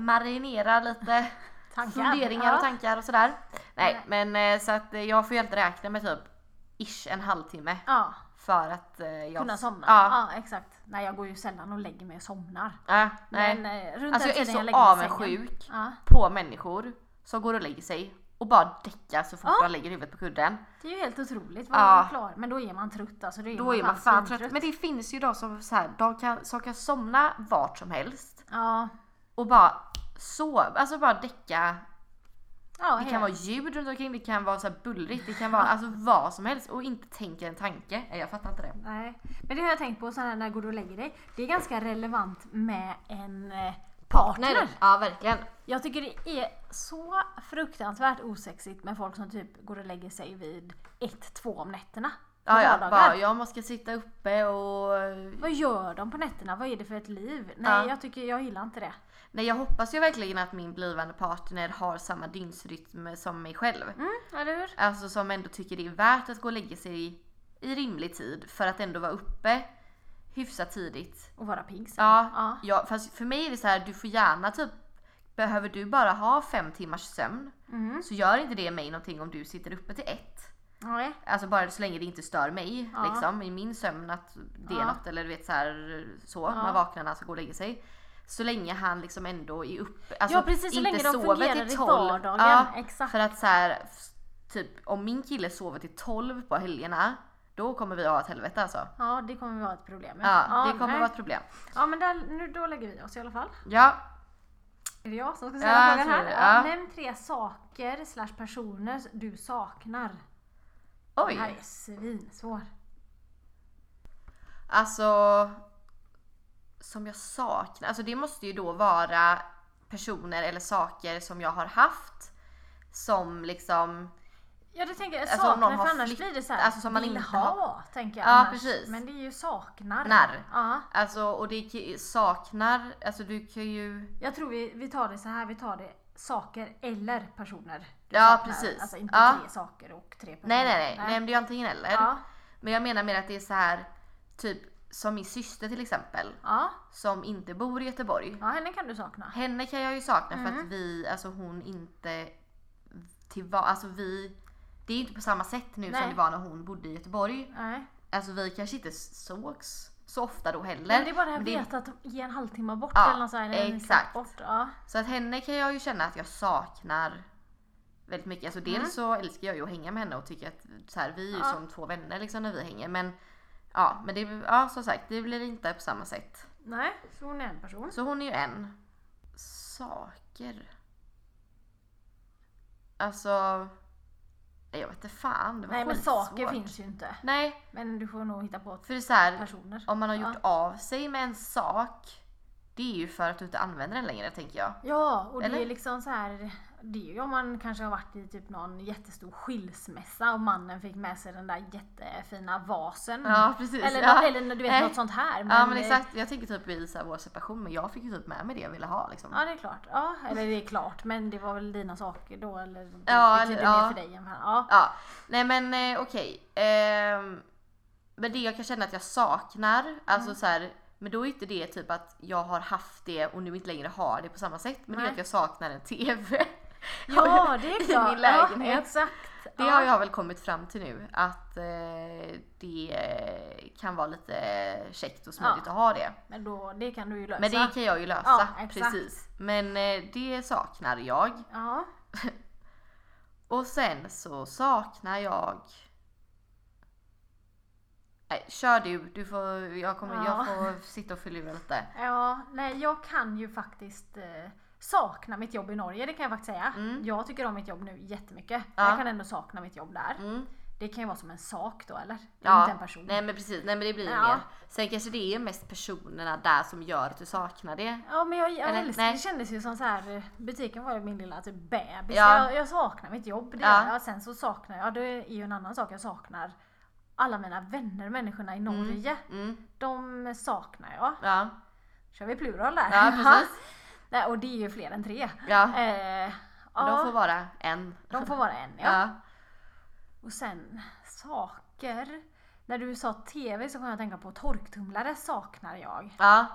S1: marinerar lite
S2: tankar.
S1: funderingar
S2: ja.
S1: och tankar och sådär. Nej
S2: Nej.
S1: men eh, så att eh, jag får ju alltid räkna med typ ish en halvtimme
S2: Ja,
S1: för att eh, jag...
S2: kunna somna. Ja.
S1: Ja.
S2: exakt. Nej, jag går ju sällan och lägger mig och somnar.
S1: ja nej.
S2: Men eh, runt
S1: alltså
S2: den
S1: jag är
S2: tiden
S1: så
S2: lägger mig i sängen.
S1: avundsjuk
S2: Ja,
S1: på människor som går och lägger sig och bara däckar så fort
S2: Ja.
S1: de lägger huvudet på kudden.
S2: det är ju helt otroligt vad
S1: Ja.
S2: man klarar. Men då är man trött alltså. Då är,
S1: Då är man fan
S2: svintrött.
S1: trött. Men det finns ju de som, så här, de kan, som kan somna vart som helst
S2: Ja.
S1: och bara sova, alltså bara däcka
S2: Ja,
S1: Det kan vara ljud runt omkring, det kan vara så här bullrigt, det kan vara alltså vad som helst och inte tänka en tanke. Nej, Jag fattar inte det.
S2: Nej, men det har jag tänkt på så här när jag går och lägger dig. Det är ganska relevant med en eh, partner.
S1: Ja verkligen.
S2: Jag tycker det är så fruktansvärt osexigt med folk som typ går och lägger sig vid 1-2 om nätterna. på
S1: Ja, ja,
S2: vardagar.
S1: bara, jag måste sitta uppe och...
S2: Vad gör de på nätterna? Vad är det för ett liv? Nej,
S1: Ja.
S2: jag, tycker, jag gillar inte det.
S1: Nej jag hoppas ju verkligen att min blivande partner har samma dygnsrytm som mig själv.
S2: Mm, eller hur?
S1: Alltså som ändå tycker det är värt att gå och lägga sig i, i rimlig tid för att ändå vara uppe hyfsat tidigt.
S2: Och vara pigg sen.
S1: Ja,
S2: Ja.
S1: ja. fast för mig är det så här, du får gärna typ Behöver du bara ha fem timmars sömn
S2: Mm.
S1: så gör inte det mig någonting om du sitter uppe till ett.
S2: Nej.
S1: Alltså bara så länge det inte stör mig
S2: Ja.
S1: liksom i min sömn att det är
S2: Ja.
S1: något eller du vet så här så
S2: Ja.
S1: man vaknar när han ska gå och lägga sig. Så länge han liksom ändå är uppe, alltså
S2: ja, precis. Så
S1: inte
S2: länge de
S1: sover
S2: fungerar
S1: till
S2: i
S1: 12.
S2: vardagen.
S1: Ja,
S2: Exakt.
S1: för att så här, f- typ om min kille sover till 12 på helgerna då kommer vi ha ett helvete alltså.
S2: Ja, det kommer vara ett problem.
S1: Ja, det kommer
S2: nej.
S1: vara ett problem.
S2: ja men där, nu, då lägger vi oss i alla fall.
S1: Ja,
S2: Är det jag som ska ställa
S1: Ja, jag
S2: frågan
S1: tror
S2: här?
S1: det,
S2: Ja.
S1: ja.
S2: Nämn tre saker slash personer du saknar. Det här
S1: oj.
S2: är svinsvår.
S1: Alltså som jag saknar, alltså det måste ju då vara personer eller saker som jag har haft som liksom
S2: Ja det tänker jag,
S1: Alltså, om
S2: saknar
S1: någon
S2: för
S1: har
S2: annars
S1: flytt-
S2: blir det såhär,
S1: alltså, som man
S2: vill
S1: inte
S2: ha, tänker jag
S1: Ja,
S2: annars.
S1: precis.
S2: Men det är ju saknar.
S1: När.
S2: Ja.
S1: Alltså och det k- saknar, alltså du kan ju...
S2: Jag tror vi, vi tar det så här, vi tar det saker eller personer. du
S1: Ja,
S2: saknar.
S1: precis.
S2: Alltså inte
S1: Ja.
S2: tre saker och tre personer.
S1: Nej nej nej, nej men det är ju antingen eller.
S2: Ja.
S1: Men jag menar mer att det är så här typ som min syster till exempel
S2: Ja.
S1: som inte bor i Göteborg.
S2: ja, henne kan du sakna.
S1: Henne kan jag ju sakna för
S2: Mm.
S1: att vi, alltså hon inte till va- alltså vi det är ju inte på samma sätt nu
S2: Nej.
S1: som det var när hon bodde i Göteborg.
S2: Nej.
S1: Alltså vi kanske inte sågs så ofta då heller.
S2: Men det är bara det här
S1: Men det-
S2: veta att ge en halvtimme bort
S1: Ja,
S2: eller något så här, eller en kvart
S1: exakt.
S2: bort. Ja.
S1: Så att henne kan jag ju känna att jag saknar väldigt mycket. Alltså dels
S2: Mm.
S1: så älskar jag ju att hänga med henne och tycker att så här, vi är ju
S2: Ja.
S1: som två vänner liksom när vi hänger. Men ja, men det, ja, som sagt det blir inte på samma sätt.
S2: Nej, så hon är en person.
S1: Så hon är ju en. Saker. Alltså. nej, Jag vet inte fan. Det var
S2: Nej men saker
S1: skitsvårt.
S2: finns ju inte.
S1: Nej,
S2: Men du får nog hitta på
S1: för det är så här,
S2: personer.
S1: om man har gjort av sig med en sak. Det är ju för att du inte använder den längre tänker jag.
S2: Ja, och det
S1: Eller?
S2: är liksom så här. Det är ju om man kanske har varit i typ någon jättestor skilsmässa och mannen fick med sig den där jättefina vasen.
S1: Ja precis.
S2: Mm. eller,
S1: ja.
S2: eller du vet
S1: Nej.
S2: något sånt här.
S1: Ja men
S2: eh,
S1: exakt, jag tänker typ i så här, vår separation men jag fick ju typ med mig det jag ville ha liksom.
S2: Ja det är klart. Ja, eller det är klart men det var väl dina saker då eller det
S1: Ja,
S2: betydde
S1: eller-
S2: mer
S1: ja.
S2: för dig än för ja.
S1: Ja, nej men eh, okej. Ehm, men det jag kan känna att jag saknar,
S2: Mm.
S1: alltså så här, men då är inte det typ att jag har haft det och nu inte längre har det på samma sätt. Men det
S2: Nej.
S1: är att jag saknar en TV.
S2: Ja, det är
S1: i
S2: klart.
S1: min lägenhet.
S2: Ja, exakt.
S1: Det
S2: ja.
S1: har jag väl kommit fram till nu att eh, det kan vara lite käckt och smidigt
S2: Ja.
S1: att ha det.
S2: Men då, det kan du ju lösa.
S1: Men det kan jag ju lösa.
S2: Ja, exakt.
S1: precis. Men eh, det saknar jag.
S2: Ja.
S1: Och sen så saknar jag... Nej, kör du. du får, jag, kommer,
S2: Ja.
S1: jag får sitta och förlura lite.
S2: Ja, nej jag kan ju faktiskt eh, sakna mitt jobb i Norge, det kan jag faktiskt säga.
S1: Mm.
S2: Jag tycker om mitt jobb nu jättemycket.
S1: Ja.
S2: Men Jag kan ändå sakna mitt jobb där.
S1: Mm.
S2: Det kan ju vara som en sak då eller? Det är
S1: Ja.
S2: inte en person.
S1: Nej men precis, nej men det blir
S2: Ja.
S1: mer. Sen kanske det är mest personerna där som gör att du saknar det.
S2: Ja men jag, jag
S1: Eller,
S2: älskar,
S1: nej.
S2: det kändes ju som så här eh, butiken var ju min lilla typ bebis.
S1: Ja.
S2: Jag, jag saknar mitt jobb. Det
S1: Ja.
S2: ja. jag. Sen så saknar jag, det är ju en annan sak jag saknar. Alla mina vänner, människorna i Norge.
S1: Mm.
S2: De saknar jag.
S1: Ja.
S2: Kör vi plural där?
S1: ja, precis.
S2: Nej, och det är ju fler än tre.
S1: Ja.
S2: Eh,
S1: Men
S2: ja,
S1: De får vara en.
S2: vara en ja.
S1: Ja.
S2: Och sen saker. När du sa TV så kom jag att tänka på torktumlare saknar jag.
S1: ja.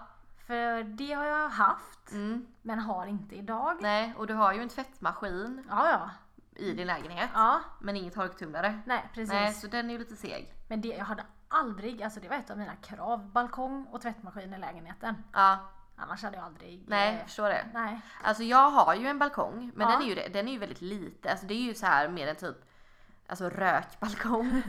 S2: För det har jag haft
S1: Mm.
S2: men har inte idag.
S1: Nej, och du har ju en tvättmaskin
S2: Ja, ja.
S1: i din lägenhet.
S2: Ja,
S1: Men ingen torktumlare.
S2: nej precis.
S1: Nej, så den är ju lite seg.
S2: Men det, jag hade aldrig, alltså det var ett av mina krav, balkong och tvättmaskin i lägenheten.
S1: Ja,
S2: Annars hade jag aldrig...
S1: nej,
S2: eh,
S1: förstår det.
S2: nej.
S1: Alltså jag har ju en balkong, men
S2: Ja.
S1: den, är ju, det- den är ju väldigt liten. Alltså det är ju så här mer en typ alltså rökbalkong.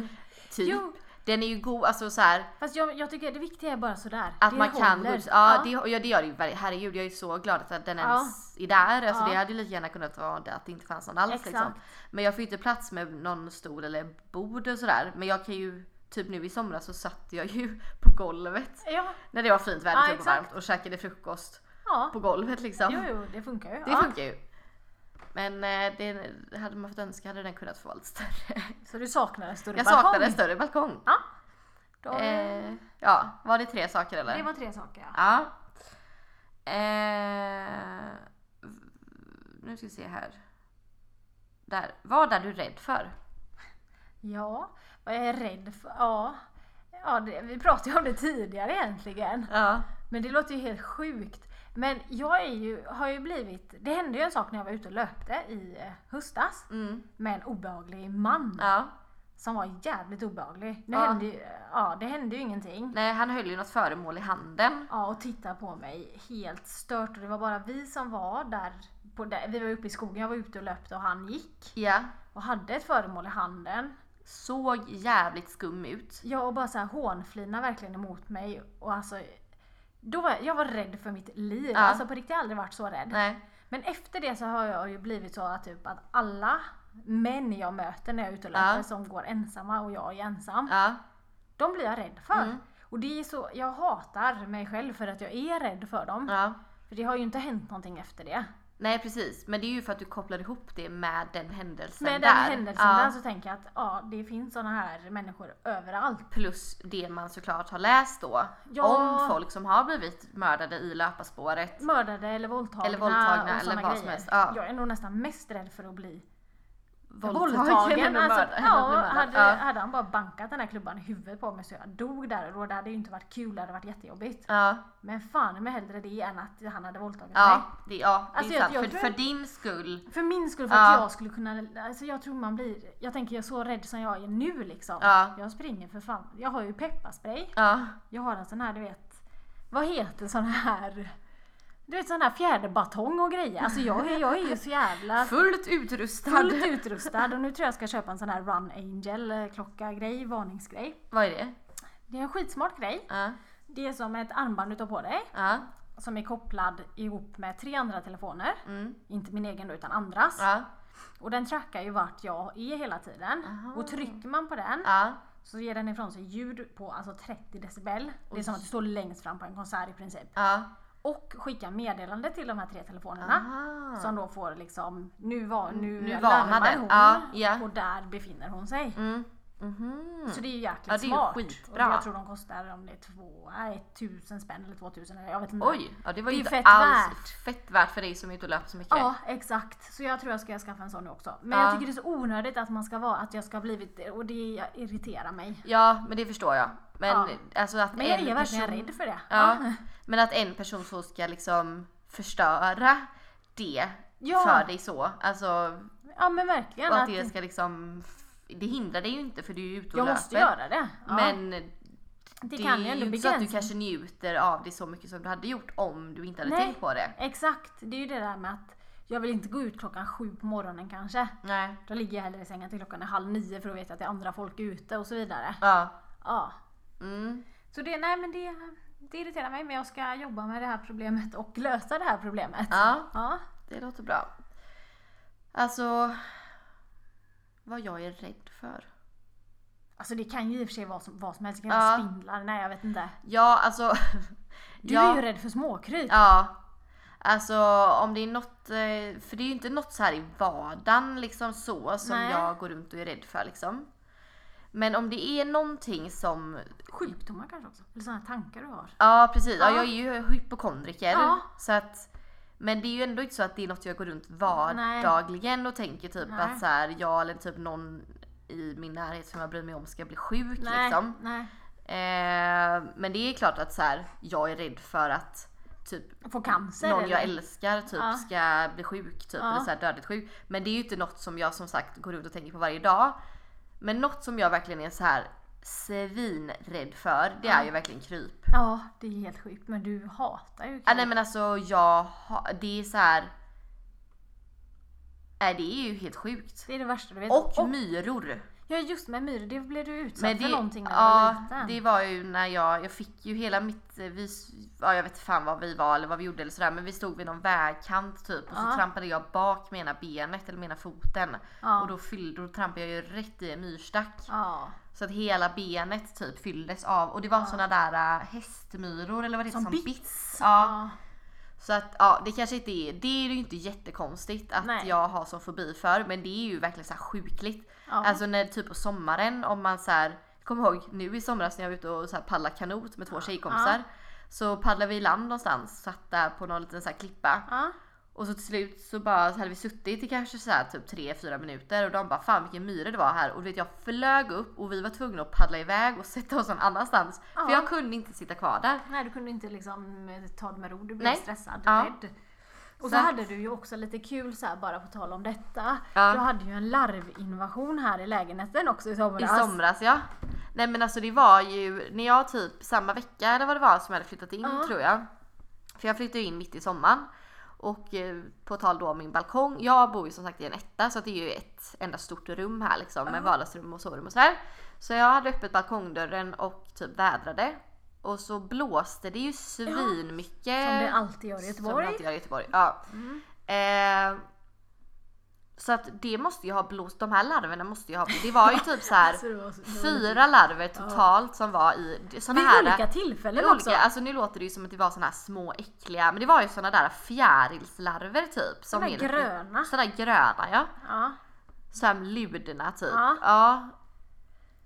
S1: typ.
S2: Jo.
S1: Den är ju god, alltså så här
S2: Fast jag, jag tycker det viktiga är bara sådär.
S1: att
S2: det
S1: man kan gå
S2: håller.
S1: ut. Ja, Det, och ja det gör det ju. verkligen. Herregud jag är ju så glad att den
S2: Ja.
S1: ens är där. Alltså
S2: Ja.
S1: det hade ju lika gärna kunnat vara det att det inte fanns någon alls liksom.
S2: Exakt.
S1: Men jag får ju inte plats med någon stol eller bord och sådär. Men jag kan ju, typ nu i somras så satt jag ju på golvet.
S2: Ja,
S1: När det var fint väder
S2: Ja,
S1: typ och
S2: exakt.
S1: varmt och käkade frukost
S2: ja.
S1: på golvet liksom.
S2: Jo, jo, det funkar ju.
S1: Det
S2: ja.
S1: funkar ju. Men eh, det, hade man fått önska hade den kunnat få vara lite större.
S2: Så du saknar en större
S1: Jag
S2: balkong?
S1: saknar en större balkong.
S2: Ja. Då,
S1: Eh, ja, var det tre saker eller?
S2: det var tre saker ja.
S1: Ja. Eh, nu ska vi se här. Där. Vad är du rädd för?
S2: Ja, vad jag är rädd för. Ja, ja det, vi pratade ju om det tidigare egentligen.
S1: Ja.
S2: Men det låter ju helt sjukt. Men jag är ju, har ju blivit, det hände ju en sak när jag var ute och löpte i eh, höstas
S1: Mm.
S2: med en obehaglig man
S1: Ja.
S2: som var jävligt obehaglig. Det,
S1: Ja.
S2: hände, ju, ja, det hände ju ingenting.
S1: Nej, han höll ju något föremål i handen.
S2: Ja, och tittade på mig helt stört och det var bara vi som var där. På där. Vi var uppe i skogen, jag var ute och löpte och han gick
S1: Ja.
S2: och hade ett föremål i handen.
S1: Såg jävligt skum ut.
S2: Ja och bara så här hånflina verkligen emot mig och alltså då var jag, jag var rädd för mitt liv.
S1: Ja.
S2: Alltså på riktigt har jag aldrig varit så rädd.
S1: Nej.
S2: Men efter det så har jag ju blivit så att typ att alla män jag möter när jag är ute och
S1: Ja.
S2: löper som går ensamma och jag är ensam.
S1: Ja.
S2: De blir jag rädd för.
S1: Mm.
S2: Och det är så, jag hatar mig själv för att jag är rädd för dem.
S1: Ja.
S2: För det har ju inte hänt någonting efter det.
S1: Nej precis, men det är ju för att du kopplar ihop det med den händelsen
S2: Med
S1: där.
S2: den händelsen
S1: Ja.
S2: där så tänker jag att ja, det finns såna här människor överallt.
S1: Plus det man såklart har läst då.
S2: Ja.
S1: Om folk som har blivit mördade i löparspåret.
S2: mördade eller våldtagna.
S1: Eller våldtagna
S2: och
S1: eller
S2: såna
S1: vad som
S2: grejer.
S1: helst, ja.
S2: Jag är nog nästan mest rädd för att bli
S1: Våldtagen och mördad.
S2: Alltså, ja, hade,
S1: ja.
S2: hade han bara bankat den här klubban i huvudet på mig så jag dog där och då. Det hade ju inte varit kul, det hade varit jättejobbigt.
S1: Ja.
S2: Men fan med hellre det än att han hade våldtagit
S1: Ja,
S2: mig.
S1: det, ja, det
S2: Alltså,
S1: är
S2: jag-
S1: sant.
S2: jag
S1: för,
S2: tror-
S1: för din skull.
S2: För min skull, för att
S1: Ja.
S2: jag skulle kunna... Alltså jag tror man blir... Jag tänker jag är så rädd som jag är nu liksom.
S1: Ja.
S2: Jag springer för fan. Jag har ju pepparspray.
S1: Ja.
S2: Jag har en sån här, du vet... Vad heter sån här... Du vet sån här fjäderbatong och grejer. Alltså jag, är- jag är ju så jävla...
S1: Fullt utrustad.
S2: Fullt utrustad och nu tror jag ska köpa en sån här Run Angel eh, klocka grej, varningsgrej.
S1: Vad är det?
S2: Det är en skitsmart grej.
S1: Ja.
S2: Det är som ett armband du tar på dig
S1: Ja.
S2: som är kopplad ihop med tre andra telefoner.
S1: Mm.
S2: Inte min egen då utan andras.
S1: Ja.
S2: Och den trackar ju vart jag är hela tiden.
S1: Aha.
S2: Och trycker man på den
S1: Ja.
S2: så ger den ifrån sig ljud på alltså 30 decibel. Det är som att du står längst fram på en konsert i princip.
S1: Ja.
S2: Och skickar meddelande till de här tre telefonerna.
S1: Aha. Mm,
S2: Som då får liksom, nu, var, nu,
S1: Nu
S2: larmar
S1: varnar den.
S2: hon
S1: Ja, ja.
S2: och där befinner hon sig.
S1: Mm. Mhm.
S2: Så det är ju jäkligt
S1: Ja, det är ju
S2: smart.
S1: skitbra.
S2: Och jag tror de kostar om det är två, nej, tusen spänn eller två tusen eller jag vet inte.
S1: Oj, ja, det var ju
S2: Det är
S1: inte
S2: fett
S1: alls
S2: värt.
S1: fett värt för dig som är ute och löper så mycket.
S2: Ja exakt, så jag tror jag ska skaffa en sån nu också. Men
S1: Ja.
S2: jag tycker det är så onödigt att man ska vara, att jag ska ha blivit det och det jag irriterar mig.
S1: Ja, men det förstår jag. Men,
S2: Ja.
S1: alltså att
S2: Men jag
S1: en
S2: är verkligen
S1: person...
S2: rädd för det.
S1: Ja. Men att en person så ska liksom förstöra det
S2: Ja.
S1: för dig så. Alltså,
S2: Ja men verkligen.
S1: och att
S2: Att
S1: det ska liksom... Det hindrar dig ju inte för du är ju ute och
S2: jag
S1: löper.
S2: måste göra det. Ja.
S1: Men
S2: det,
S1: det,
S2: kan ju
S1: är ju
S2: ändå
S1: inte så att du
S2: begränsa.
S1: kanske njuter av det så mycket som du hade gjort om du inte hade
S2: Nej.
S1: tänkt på det.
S2: Exakt, det är ju det där med att jag vill inte gå ut klockan sju på morgonen kanske.
S1: Nej.
S2: Då ligger jag hellre i sängen till klockan är halv nio för då vet jag att det är andra folk ute och så vidare.
S1: Ja.
S2: Ja.
S1: Mm.
S2: Så det, nej men det, det irriterar mig men jag ska jobba med det här problemet och lösa det här problemet.
S1: Ja,
S2: Ja.
S1: det låter bra. Alltså... Vad jag är rädd för.
S2: Alltså det kan ju i och för sig vara som, vad som helst. Det kan
S1: Ja.
S2: vara spindlar, nej jag vet inte.
S1: Ja, alltså...
S2: Du
S1: ja.
S2: är ju rädd för småkryp.
S1: Ja. Alltså om det är något, eh, för det är ju inte något så här i vardagen liksom så som
S2: Nej.
S1: jag går runt och är rädd för liksom. Men om det är någonting som,
S2: Sjukdomar kanske också. Eller sådana tankar du har.
S1: ja precis, ja.
S2: Ja.
S1: jag är ju hypokondriker.
S2: Ja.
S1: Så att, men det är ju ändå inte så att det är något jag går runt vardagligen och tänker typ
S2: Nej.
S1: att så här, jag eller typ någon i min närhet som jag bryr mig om ska bli sjuk
S2: Nej,
S1: liksom.
S2: nej.
S1: Eh, men det är klart att så här, jag är rädd för att typ
S2: Få cancer
S1: någon jag
S2: eller?
S1: älskar typ
S2: Ja.
S1: ska bli sjuk typ,
S2: Ja.
S1: eller så här dödligt sjuk. Men det är ju inte något som jag som sagt går ut och tänker på varje dag. Men något som jag verkligen är så här svinrädd för, det är ju verkligen kryp.
S2: Ja, det är helt sjukt. Men du hatar ju
S1: Ah,
S2: kryp.
S1: nej men alltså jag har, det är så här. Nej det är ju helt sjukt.
S2: Det är det värsta du vet.
S1: Och myror.
S2: ja just med myror, det blev du utsatt
S1: Men
S2: för
S1: det,
S2: någonting när du
S1: ja,
S2: var liten.
S1: det var ju när jag, jag fick ju hela mitt, eh, vi, s- ja, jag vet fan vad vi var eller vad vi gjorde eller sådär men vi stod vid någon vägkant typ och så
S2: Ja.
S1: trampade jag bak med ena benet eller med ena foten
S2: Ja.
S1: och då, fyllde, då trampade jag ju rätt i en myrstack
S2: ja.
S1: så att hela benet typ fylldes av och det var såna där äh, hästmyror eller vad det heter
S2: Som
S1: som
S2: bits.
S1: bits. Ja.
S2: Ja.
S1: Så att ja, det kanske inte är, det är ju inte jättekonstigt att
S2: Nej.
S1: jag har sån fobi för men det är ju verkligen så här sjukligt.
S2: Ja.
S1: Alltså när typ på sommaren om man så här, kom ihåg nu i somras när jag var ute och så här paddlade kanot med två tjejkompisar. Så paddlade vi i land någonstans, satt där på någon liten så här klippa.
S2: Ja.
S1: Och så till slut så bara så hade vi suttit i kanske så här typ 3-4 minuter och de bara fan vilken myra det var här och du vet jag flög upp och vi var tvungna att paddla iväg och sätta oss någon annanstans.
S2: Ja.
S1: För jag kunde inte sitta kvar där.
S2: Nej, du kunde inte liksom eh, ta det med ro. Du blev
S1: Nej.
S2: stressad,
S1: Ja.
S2: rädd. Och så,
S1: Så att-
S2: hade du ju också lite kul så här bara på tal om detta.
S1: Ja.
S2: Du hade ju en larvinvasion här i lägenheten också i somras.
S1: I somras ja. Nej men alltså det var ju när jag typ samma vecka eller vad det var som jag hade flyttat in
S2: Ja.
S1: tror jag. För jag flyttade in mitt i sommaren. Och eh, på tal då om min balkong. Jag bor ju som sagt i en etta så att det är ju ett enda stort rum här liksom med vardagsrum och sovrum och sådär. Så jag hade öppet balkongdörren och typ vädrade. Och så blåste det ju svinmycket.
S2: Som det alltid gör i Mm.
S1: Som
S2: Göteborg.
S1: det alltid gör i Göteborg. Ja. Eh, så att det måste ju ha blåst, de här larverna måste ju ha, det var ju typ så här
S2: Alltså, det var så- det var
S1: fyra larver totalt som var i såna
S2: Vid
S1: här
S2: olika tillfällen
S1: olika,
S2: också.
S1: alltså nu låter det ju som att det var såna här små äckliga, men det var ju såna där fjärilslarver typ. Som
S2: Såna
S1: är-
S2: gröna.
S1: Såna gröna ja.
S2: Ja.
S1: Så här ludna typ.
S2: Ja.
S1: Ja.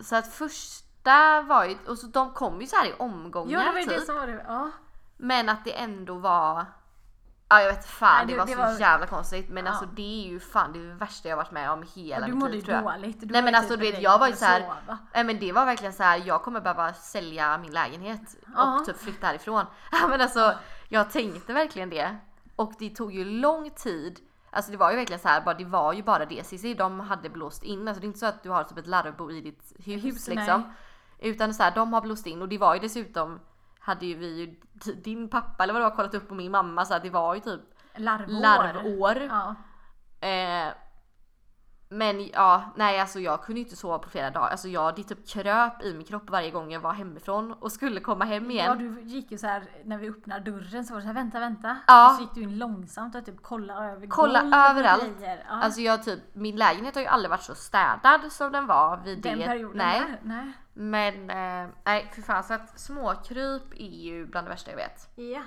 S1: Så att första var ju, och så de kom ju så här i omgångar
S2: Jo, det var ju
S1: typ.
S2: det som var det. Ja.
S1: Men att det ändå var... Ja jag vet fan,
S2: Nej,
S1: det,
S2: det-
S1: var
S2: det
S1: så
S2: var-
S1: jävla konstigt men
S2: Ja.
S1: alltså det är ju fan det värsta jag varit med om i hela
S2: Och du
S1: mitt
S2: mådde
S1: liv
S2: ju
S1: tror jag.
S2: dåligt. Du
S1: Nej
S2: var
S1: men
S2: ju
S1: alltså
S2: typ
S1: du vet
S2: rädd
S1: jag var ju
S2: för att
S1: såhär,
S2: sova.
S1: nej men det var verkligen så här: jag kommer behöva sälja min lägenhet
S2: Ja.
S1: och typ flytta härifrån. Ja, men alltså jag tänkte verkligen det. Och det tog ju lång tid, alltså det var ju verkligen så här, bara, det var ju bara det Cissi, de hade blåst in, alltså det är inte så att du har typ ett larvbo i ditt hus,
S2: Hus, nej.
S1: liksom. Utan så här, de har blåst in och det var ju dessutom hade ju vi ju din pappa eller vad det var kollat upp på min mamma så att det var ju typ
S2: Larvår.
S1: larvår.
S2: Ja.
S1: Eh, men ja, nej alltså jag kunde ju inte sova på flera dagar. Alltså jag, det typ kröp i min kropp varje gång jag var hemifrån och skulle komma hem igen.
S2: ja, du gick ju så här när vi öppnade dörren så var det så här vänta, vänta.
S1: Ja.
S2: Och Så gick du in långsamt och typ kolla över
S1: Kolla
S2: golv och
S1: överallt.
S2: grejer. Ja.
S1: Alltså jag typ, min lägenhet har ju aldrig varit så städad som den var vid
S2: den
S1: det.
S2: perioden
S1: nej.
S2: där. Nej.
S1: Men eh, nej för fan så att småkryp är ju bland det värsta jag vet.
S2: Ja,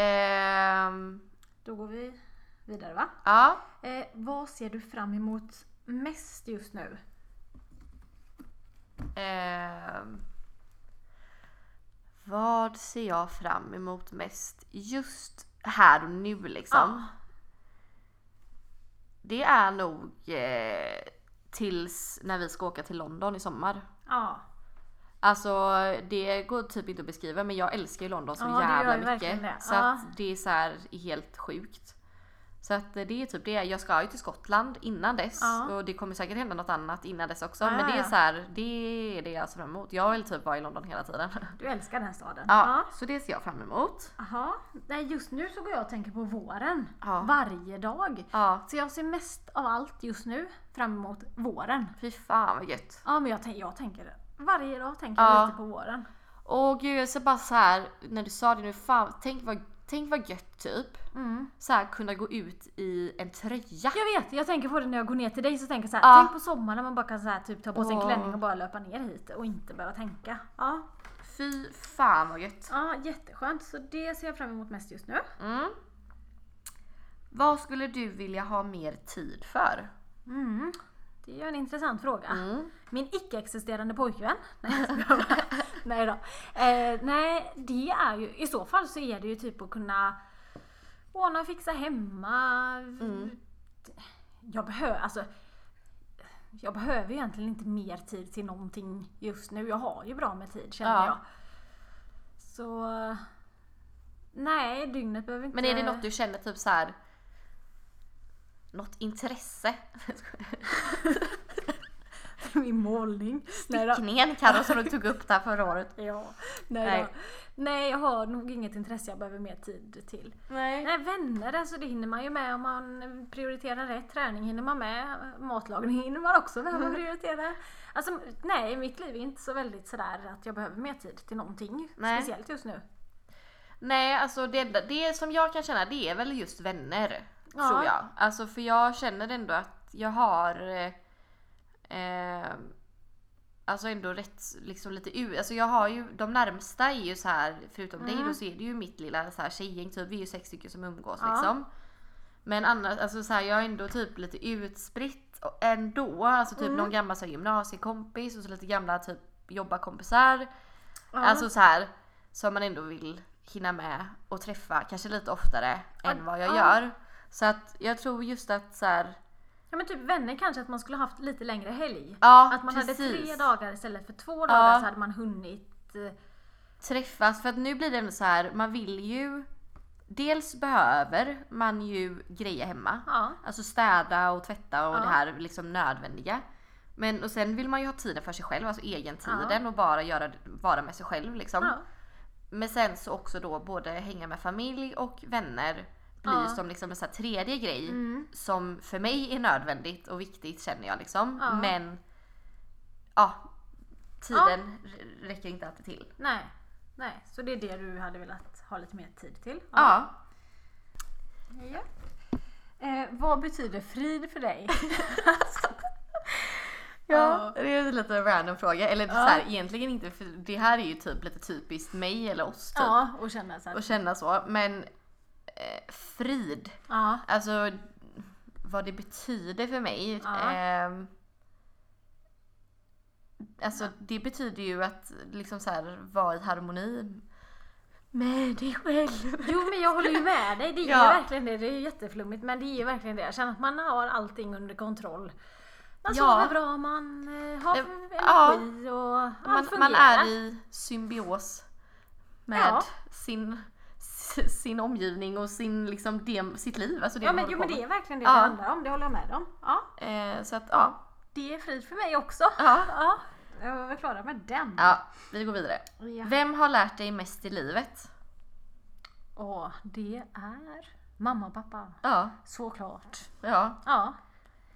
S1: Ehm,
S2: då går vi vidare va?
S1: ja.
S2: Eh, vad ser du fram emot mest just nu?
S1: Ehm, vad ser jag fram emot mest just här och nu liksom?
S2: Ja.
S1: Det är nog eh, tills när vi ska åka till London i sommar.
S2: Ja,
S1: Alltså det går typ inte att beskriva men jag älskar ju London så
S2: Ja, det gör ju
S1: jävla
S2: verkligen
S1: mycket.
S2: det.
S1: Så
S2: Ja.
S1: att det är så här helt sjukt. Så att eh, det är typ det. Jag ska ju till Skottland innan dess
S2: Ja.
S1: och det kommer säkert hända något annat innan dess också.
S2: Ja,
S1: Men
S2: ja,
S1: det är
S2: ja.
S1: så här, det är det jag ser fram emot. Jag vill typ vara i London hela tiden.
S2: Du älskar den staden.
S1: Ja, så det ser jag fram emot.
S2: Jaha. Nej, just nu så går jag och tänker på våren.
S1: Ja.
S2: Varje dag.
S1: Ja,
S2: Så jag ser mest av allt just nu fram emot våren.
S1: fy fan vad gött.
S2: Ja, men jag, tän- jag tänker varje dag tänker
S1: Ja.
S2: jag lite på våren.
S1: Och gud, jag ser bara så här när du sa det nu, fan, tänk vad, tänk vad gött typ.
S2: Mm.
S1: Så här kunna gå ut i en tröja.
S2: Jag vet, jag tänker på det när jag går ner till dig så tänker jag så här,
S1: Ja.
S2: tänk på sommaren när man bara kan så här, typ ta på sig en
S1: Åh.
S2: klänning och bara löpa ner hit och inte behöva tänka. Ja,
S1: Fy fan vad gött.
S2: ja jätteskönt. Så det ser jag fram emot mest just nu.
S1: Mm. Vad skulle du vilja ha mer tid för?
S2: Mm. Det är ju en intressant fråga.
S1: Mm.
S2: Min icke-existerande pojkvän. Nej, jag skojar bara. nej då. Eh, nej, det är ju, i så fall så är det ju typ att kunna ordna och fixa hemma.
S1: Mm.
S2: Jag behöver, alltså. Jag behöver ju egentligen inte mer tid till någonting just nu. Jag har ju bra med tid känner
S1: Ja.
S2: jag. Så... Nej, dygnet behöver inte...
S1: Men är det något du känner typ så här. Något intresse?
S2: Min målning. Nej då.
S1: Stickningen Carro som du tog upp där förra året.
S2: Ja, nej,
S1: Nej.
S2: nej. nej jag har nog inget intresse jag behöver mer tid till. Nej vänner, alltså det hinner man ju med om man prioriterar rätt. Träning hinner man med, matlagning hinner man också med om man prioriterar. Alltså nej, mitt liv är inte så väldigt sådär att jag behöver mer tid till någonting.
S1: Nej.
S2: Speciellt just nu.
S1: Nej, alltså det, enda- det som jag kan känna det är väl just vänner.
S2: Ja.
S1: Tror jag. Alltså för jag känner ändå att jag har eh, eh, Alltså ändå rätt liksom lite u. Alltså jag har ju, de närmsta är ju så här förutom dig då så är det ju mitt lilla så här tjejgäng typ. Vi är ju sex stycken som umgås
S2: Mm. Ja.
S1: liksom. Men annars, alltså så här, jag är ändå typ lite utspritt och- ändå. Alltså
S2: Mm.
S1: typ någon gammal så här, gymnasiekompis och så lite gamla typ jobbarkompisar.
S2: Ja.
S1: Alltså så här som man ändå vill hinna med och träffa kanske lite oftare än vad jag
S2: ja.
S1: gör. Så att jag tror just att så här,
S2: ja men typ vänner kanske att man skulle haft lite längre helg.
S1: ja
S2: att man hade
S1: precis.
S2: tre dagar istället för två dagar
S1: Ja.
S2: så hade man hunnit. eh,
S1: Träffas för att nu blir det ändå så här, man vill ju Dels behöver man ju grejer hemma.
S2: Ja.
S1: Alltså städa och tvätta och
S2: Ja.
S1: det här liksom nödvändiga. Men och sen vill man ju ha tiden för sig själv, alltså egentiden och bara göra, vara med sig själv liksom.
S2: Ja.
S1: Men sen så också då både hänga med familj och vänner blir
S2: Ja.
S1: som liksom en så här tredje grej
S2: Mm.
S1: som för mig är nödvändigt och viktigt känner jag liksom.
S2: Ja.
S1: Men ja, tiden r- räcker inte alltid till.
S2: Nej. nej, så det är det du hade velat ha lite mer tid till.
S1: Ja.
S2: Ja. Eh, vad betyder frid för dig?
S1: Ja, det är en lite random fråga. Eller så
S2: Ja.
S1: här, egentligen inte, för det här är ju typ lite typiskt mig eller oss typ.
S2: ja, och känna så här.
S1: Att känna så. Men eh, frid.
S2: Ja.
S1: Alltså vad det betyder för mig.
S2: Ja.
S1: ehm, alltså det betyder ju att liksom så här, vara i harmoni med dig själv.
S2: Jo men jag håller ju med dig, det är
S1: Ja.
S2: ju verkligen det. Det är ju jätteflummigt men det är ju verkligen det. Jag känner att man har allting under kontroll. Man
S1: Ja.
S2: sover bra, man eh, har
S1: Eh,
S2: energi och allt
S1: Man,
S2: fungerar.
S1: man är i symbios med
S2: Ja.
S1: sin, s- sin omgivning och sin, liksom, dem- sitt liv. Alltså det
S2: ja
S1: man
S2: men,
S1: håller
S2: jo,
S1: på
S2: men det är verkligen det
S1: Ja.
S2: det handlar om, det håller jag med om. Ja,
S1: med. Eh, så att ja.
S2: det är frid för mig också.
S1: Ja.
S2: Ja, jag var väl klara med den.
S1: ja, vi går vidare.
S2: Ja.
S1: Vem har lärt dig mest i livet?
S2: Och det är mamma och pappa.
S1: Ja,
S2: Såklart.
S1: ja.
S2: Ja,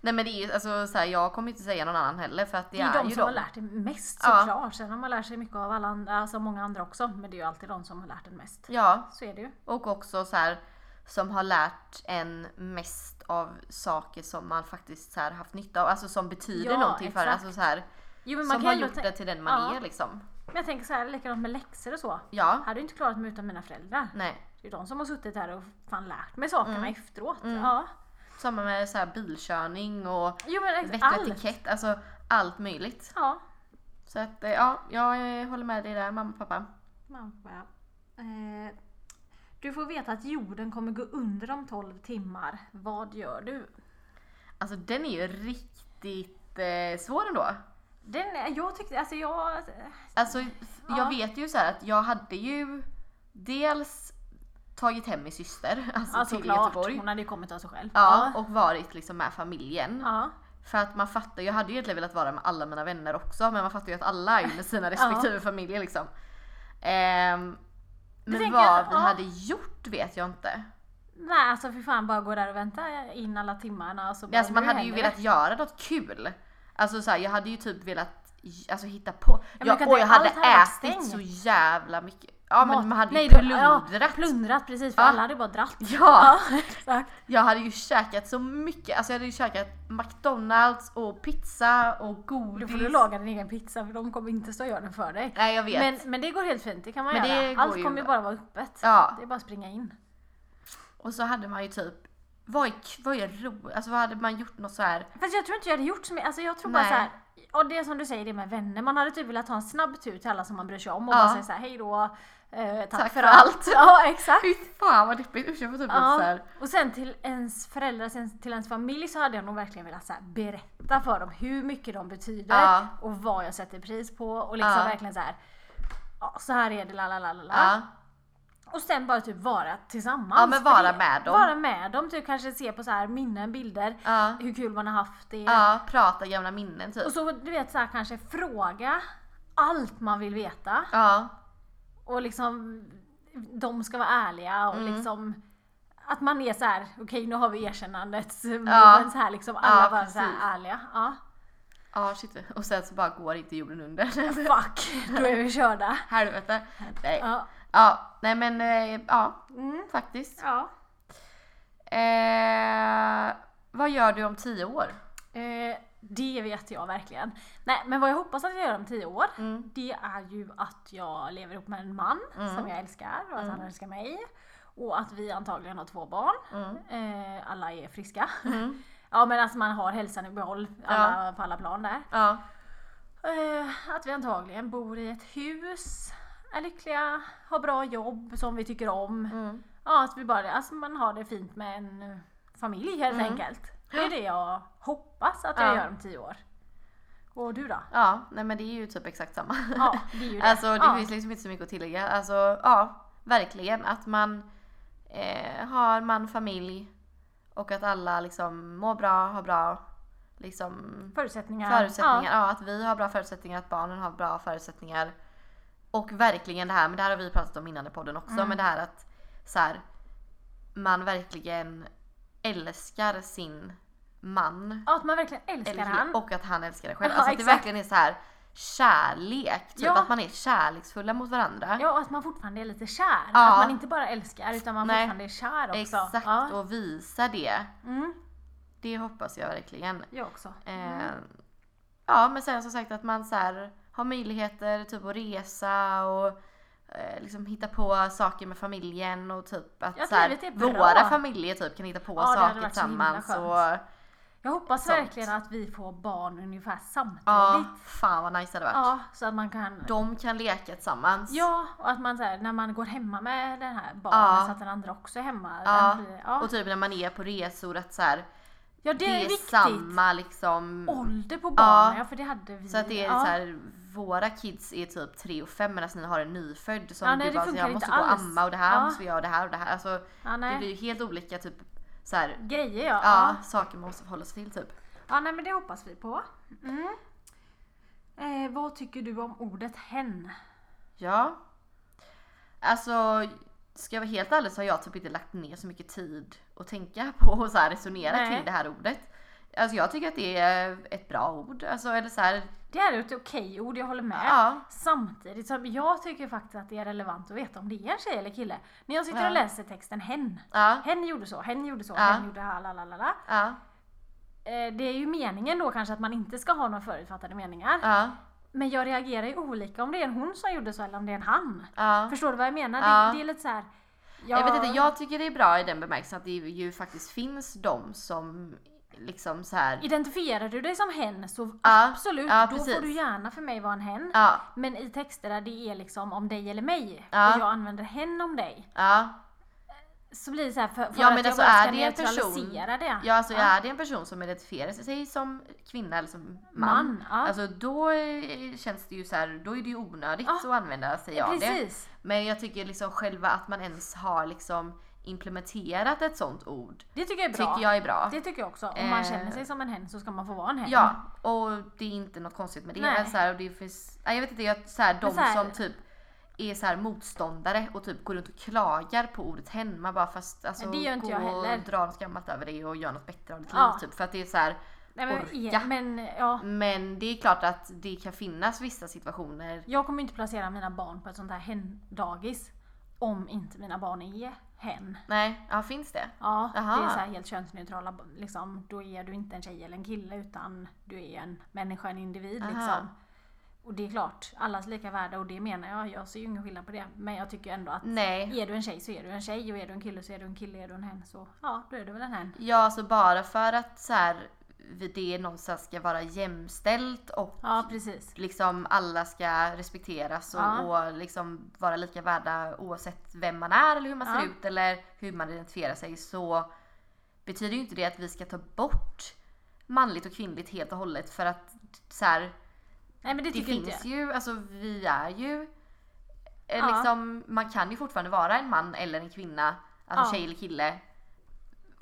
S1: Nej men det är ju alltså, så här, jag kommer inte säga någon annan heller för att det,
S2: Det är de
S1: ju
S2: som
S1: dem.
S2: har lärt dig mest
S1: Ja.
S2: såklart. Sen har man lärt sig mycket av alla andra, alltså många andra också. Men det är ju alltid de som har lärt en mest.
S1: Ja,
S2: Så är det ju.
S1: och också så här som har lärt en mest av saker som man faktiskt så här, haft nytta av, alltså som betyder
S2: Ja,
S1: någonting för en.
S2: exakt.
S1: Alltså, så här,
S2: Jo, men man
S1: som
S2: kan
S1: har
S2: ändå
S1: gjort
S2: tän-
S1: det till den man
S2: Ja.
S1: är liksom.
S2: Men jag tänker så här, likadant med läxor och så.
S1: Ja,
S2: Hade jag inte klarat mig utan mina föräldrar.
S1: nej. Mm.
S2: Det är ju de som har suttit här och fan lärt mig sakerna efteråt. Ja.
S1: Samma med så här, bilkörning och
S2: Jo men
S1: vett
S2: ex-
S1: och
S2: allt.
S1: etikett, alltså allt möjligt.
S2: Ja.
S1: Så att eh, ja, jag eh, håller med dig där mamma och pappa.
S2: Mamma. Eh, du får veta att jorden kommer gå under om 12 timmar. Vad gör du?
S1: Alltså den är ju riktigt eh, svår ändå.
S2: Den, är- jag tyckte, alltså jag...
S1: Alltså jag
S2: Ja.
S1: vet ju så här att jag hade ju dels tagit hem min syster alltså,
S2: Ja,
S1: till
S2: såklart.
S1: Göteborg.
S2: Hon hade ju kommit av sig själv.
S1: Ja, och varit liksom med familjen.
S2: ja.
S1: För att man fattar, jag hade ju egentligen velat vara med alla mina vänner också men man fattar ju att alla är med sina respektive familjer liksom. Ehm, men
S2: tänker
S1: vad
S2: jag,
S1: vi
S2: ja.
S1: hade gjort vet jag inte.
S2: Nej alltså för fan bara gå där och vänta in alla timmarna. och så
S1: Men
S2: bara,
S1: alltså, man
S2: nu
S1: hade ju
S2: händer det.
S1: velat göra något kul. Alltså så här, jag hade ju typ velat alltså, hitta på.
S2: men
S1: jag,
S2: kan
S1: och
S2: det-
S1: jag hade
S2: allt hade varit
S1: ätit
S2: stängt.
S1: så jävla mycket. Ja men
S2: Mat-
S1: man hade ju
S2: Nej, det-
S1: plundrat.
S2: Ja, plundrat precis för
S1: Ja.
S2: alla hade ju bara dratt.
S1: Ja,
S2: exakt.
S1: jag hade ju käkat så mycket. Alltså jag hade ju käkat McDonalds och pizza och
S2: Då
S1: godis.
S2: får du laga din egen pizza för de kommer inte stå och göra den för dig.
S1: Nej jag vet.
S2: Men, men det går helt fint, det kan man
S1: Men det
S2: göra.
S1: går
S2: Allt
S1: ju
S2: kommer ju
S1: bra.
S2: bara vara öppet.
S1: Ja.
S2: Det är bara att springa in.
S1: Och så hade man ju typ, vad är, vad är roligt? Alltså vad hade man gjort något så här?
S2: Fast jag tror inte jag hade gjort så mycket. Alltså jag tror bara
S1: Nej.
S2: så här. Och det är som du säger, det med vänner. Man hade typ velat ta en snabb tur till alla som man bryr sig om och
S1: Ja.
S2: bara säga så här, hej då. Eh, tack,
S1: Tack
S2: för,
S1: för
S2: allt.
S1: allt.
S2: Ja, exakt.
S1: Fy fan vad deppigt, usch jag får typ ja. så
S2: Ja.
S1: här.
S2: Och sen till ens föräldrar, sen till ens familj så hade jag nog verkligen velat så här, berätta för dem hur mycket de betyder
S1: Ja.
S2: och vad jag sätter pris på och liksom
S1: Ja.
S2: verkligen så här. Ja, så här är det, la la la la la.
S1: Ja.
S2: Och sen bara typ vara tillsammans.
S1: Ja, men
S2: För
S1: vara
S2: det-
S1: med dem.
S2: Vara med dem, typ kanske se på så här minnen, bilder,
S1: Ja.
S2: hur kul man har haft det.
S1: ja, prata gamla minnen typ.
S2: Och så du vet så här, kanske fråga allt man vill veta.
S1: Ja,
S2: Och liksom de ska vara ärliga
S1: Mm.
S2: och liksom att man är så här, okej nu har vi erkännandet. Ja. Så här, liksom, alla
S1: Ja,
S2: bara så
S1: precis.
S2: här ärliga. Ja.
S1: ja shit. Och sen så bara går inte jorden under.
S2: Fuck, då är vi körda.
S1: Helvete. Nej. Ja.
S2: Ja.
S1: nej men eh, ja,
S2: Mm.
S1: faktiskt.
S2: ja.
S1: Eh, vad gör du om tio år?
S2: Eh, det vet jag verkligen. Nej, men vad jag hoppas att jag gör om tio år,
S1: Mm.
S2: det är ju att jag lever ihop med en man som jag älskar och att han älskar mig. Och att vi antagligen har två barn.
S1: Mm.
S2: Eh, alla är friska.
S1: Mm.
S2: ja men alltså man har hälsan i behåll alla, på alla plan där.
S1: Ja,
S2: Eh, att vi antagligen bor i ett hus, är lyckliga, har bra jobb som vi tycker om.
S1: mm.
S2: Ja, att vi bara, alltså man har det fint med en eh, familj helt
S1: Mm.
S2: enkelt. Det är det jag hoppas att jag
S1: Ja.
S2: gör om tio år. Och du då?
S1: ja, nej men det är ju typ exakt samma.
S2: Ja, det är ju det.
S1: Alltså det
S2: ja.
S1: finns liksom inte så mycket att tillägga. Alltså ja, verkligen att man eh, har man, familj och att alla liksom mår bra, har bra liksom
S2: förutsättningar.
S1: förutsättningar. Ja. att vi har bra förutsättningar, att barnen har bra förutsättningar. Och verkligen det här, men det här har vi pratat om innan i podden också, men det här att så här, man verkligen älskar sin man.
S2: Ja. ja, att man verkligen älskar
S1: Eller,
S2: han.
S1: och att han älskar det själv.
S2: Ja,
S1: alltså att det
S2: exakt.
S1: verkligen är så här kärlek. Typ
S2: Ja.
S1: att man är kärleksfulla mot varandra.
S2: Ja, och att man fortfarande är lite kär.
S1: Ja.
S2: Att man inte bara älskar utan man
S1: Nej.
S2: fortfarande är kär också.
S1: Exakt,
S2: Ja.
S1: och visa det.
S2: Mm,
S1: Det hoppas jag verkligen.
S2: jag också.
S1: Eh, ja men sen som sagt att man så här, har möjligheter typ att resa och eh, liksom hitta på saker med familjen och typ att
S2: Ja,
S1: så här,
S2: livet är bra.
S1: våra familjer typ kan hitta på
S2: Ja, det hade
S1: saker
S2: varit så himla
S1: tillsammans. Och,
S2: Jag hoppas
S1: Sånt.
S2: verkligen att vi får barn ungefär samtidigt.
S1: ja,
S2: Ja,
S1: fan vad nice det hade varit.
S2: så att man kan...
S1: De kan leka tillsammans.
S2: Ja, och att man så här, när man går hemma med den här barnen
S1: Ja.
S2: så att den andra också är hemma.
S1: Ja,
S2: Den blir- ja.
S1: Och typ när man är på resor att så här,
S2: ja det,
S1: det är,
S2: är viktigt.
S1: samma liksom.
S2: Ålder på barnen,
S1: Ja.
S2: ja. för det hade vi.
S1: Så att det är
S2: ja.
S1: så här, våra kids är typ 3 och 5 medan ni har en nyfödd som
S2: Ja, nej,
S1: du
S2: det
S1: bara, så
S2: funkar
S1: jag
S2: inte
S1: måste gå och
S2: alls.
S1: amma och det här
S2: Ja.
S1: måste vi göra och det här och det här. Alltså,
S2: ja,
S1: det
S2: nej.
S1: blir ju helt olika typ så här,
S2: Grejer ja.
S1: ja,
S2: ja.
S1: saker man måste förhålla sig till typ.
S2: Ja, nej men det hoppas vi på. Mm. Eh, vad tycker du om ordet hen?
S1: Ja. Alltså, ska jag vara helt ärlig så har jag typ inte lagt ner så mycket tid att tänka på och så här resonera
S2: Nej.
S1: kring det här ordet. Alltså jag tycker att det är ett bra ord. Alltså eller så här,
S2: Det är ett okej ord, jag håller med.
S1: ja.
S2: Samtidigt som jag tycker faktiskt att det är relevant att veta om det är en tjej eller kille. När jag sitter
S1: Ja.
S2: och läser texten hen.
S1: Ja.
S2: Hen gjorde så, hen gjorde så,
S1: Ja.
S2: hen gjorde här, la, la, la, la.
S1: Ja.
S2: Eh, Det är ju meningen då kanske att man inte ska ha några förutfattade meningar.
S1: Ja.
S2: Men jag reagerar ju olika om det är en hon som gjorde så eller om det är en han.
S1: Ja.
S2: Förstår du vad jag menar?
S1: Ja.
S2: Det, det är lite så här.
S1: Jag vet inte, jag tycker det är bra i den bemärkelsen att det ju faktiskt finns de som liksom så här.
S2: Identifierar du dig som hen så
S1: Ja.
S2: absolut,
S1: Ja,
S2: då
S1: precis.
S2: får du gärna för mig vara en hen.
S1: Ja,
S2: Men i texter där det är liksom om dig eller mig
S1: Ja.
S2: och jag använder hen om dig.
S1: ja,
S2: Så blir det så här för, för
S1: Ja,
S2: att
S1: men
S2: jag
S1: alltså,
S2: bara
S1: är
S2: ska
S1: det en person-
S2: neutralisera det.
S1: Ja, alltså
S2: Ja.
S1: är det en person som identifierar sig som kvinna eller som man,
S2: Man, ja.
S1: alltså då eh, känns det ju så här, då är det ju onödigt
S2: Ja.
S1: att använda sig av det.
S2: Precis.
S1: Men jag tycker liksom själva att man ens har liksom implementerat ett sånt ord
S2: Det. tycker jag är bra.
S1: tycker jag är bra.
S2: Det tycker jag också. Om man
S1: Eh.
S2: känner sig som en hen så ska man få vara en hen.
S1: Ja, och det är inte något konstigt med det.
S2: Mm. Nej.
S1: Men så här, och det finns, nej, jag vet inte, jag, så här, de
S2: så här-
S1: som typ är så här motståndare och typ går runt och klagar på ordet hen. Man bara fast alltså,
S2: Men det gör inte
S1: gå
S2: jag heller.
S1: och dra något gammalt över det och gör något bättre av ditt
S2: Ja.
S1: liv. Typ, för att det är så här,
S2: Nej, men,
S1: orka.
S2: men ja,
S1: men det är klart att det kan finnas vissa situationer.
S2: jag kommer inte placera mina barn på ett sånt här hen-dagis om inte mina barn är hen.
S1: Nej, ja finns det?
S2: Ja,
S1: Aha.
S2: det är så här helt könsneutrala. Liksom, då är du inte en tjej eller en kille utan du är en människa, en individ.
S1: Aha.
S2: Liksom. Och det är klart, allas lika värde och det menar jag. Jag ser ju ingen skillnad på det. Men jag tycker ändå att
S1: Nej.
S2: är du en tjej så är du en tjej och är du en kille så är du en kille, är du en hen så ja, då är du väl en hen.
S1: Ja, alltså bara för att så här, vi- det någonstans ska vara jämställt och
S2: Ja, precis.
S1: liksom alla ska respekteras och,
S2: Ja.
S1: och liksom vara lika värda oavsett vem man är eller hur man
S2: Ja.
S1: ser ut eller hur man identifierar sig så betyder ju inte det att vi ska ta bort manligt och kvinnligt helt och hållet för att så här,
S2: Nej men det
S1: det
S2: tycker inte jag.
S1: finns ju, alltså vi är ju eh,
S2: Ja.
S1: liksom, man kan ju fortfarande vara en man eller en kvinna, alltså
S2: Ja.
S1: tjej eller kille.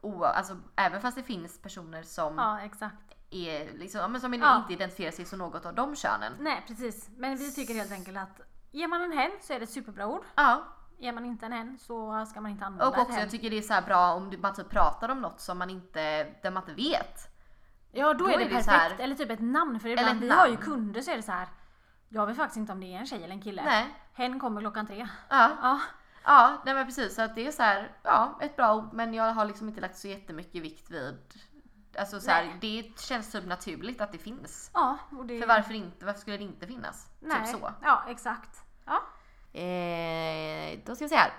S1: O, alltså, även fast det finns personer som,
S2: Ja, exakt.
S1: är, liksom, ja, men som
S2: Ja.
S1: inte identifierar sig som något av de könen.
S2: Nej precis, men vi tycker helt enkelt att ger man en hen så är det ett superbra ord.
S1: Ja,
S2: Ger man inte en hen så ska man inte använda
S1: Och
S2: ett
S1: också
S2: hen.
S1: jag tycker det är så här bra om du- man typ pratar om något som man inte, där man inte vet.
S2: Ja då, är det, perfekt.
S1: så här-
S2: Eller typ ett namn. För
S1: Eller
S2: ibland,
S1: ett
S2: vi har ju
S1: namn.
S2: kunder så är det så här. Jag vet faktiskt inte om det är en tjej eller en kille.
S1: Nej.
S2: Hen kommer klockan tre.
S1: Ja,
S2: Ja,
S1: ja nej men precis. Så att det är så här, ja ett bra ord men jag har liksom inte lagt så jättemycket vikt vid Alltså så här,
S2: Nej.
S1: det känns typ naturligt att det finns.
S2: ja och det...
S1: För varför inte? Varför skulle det inte finnas?
S2: Nej.
S1: Typ så.
S2: Ja, exakt. Ja.
S1: Eh, då ska vi se här.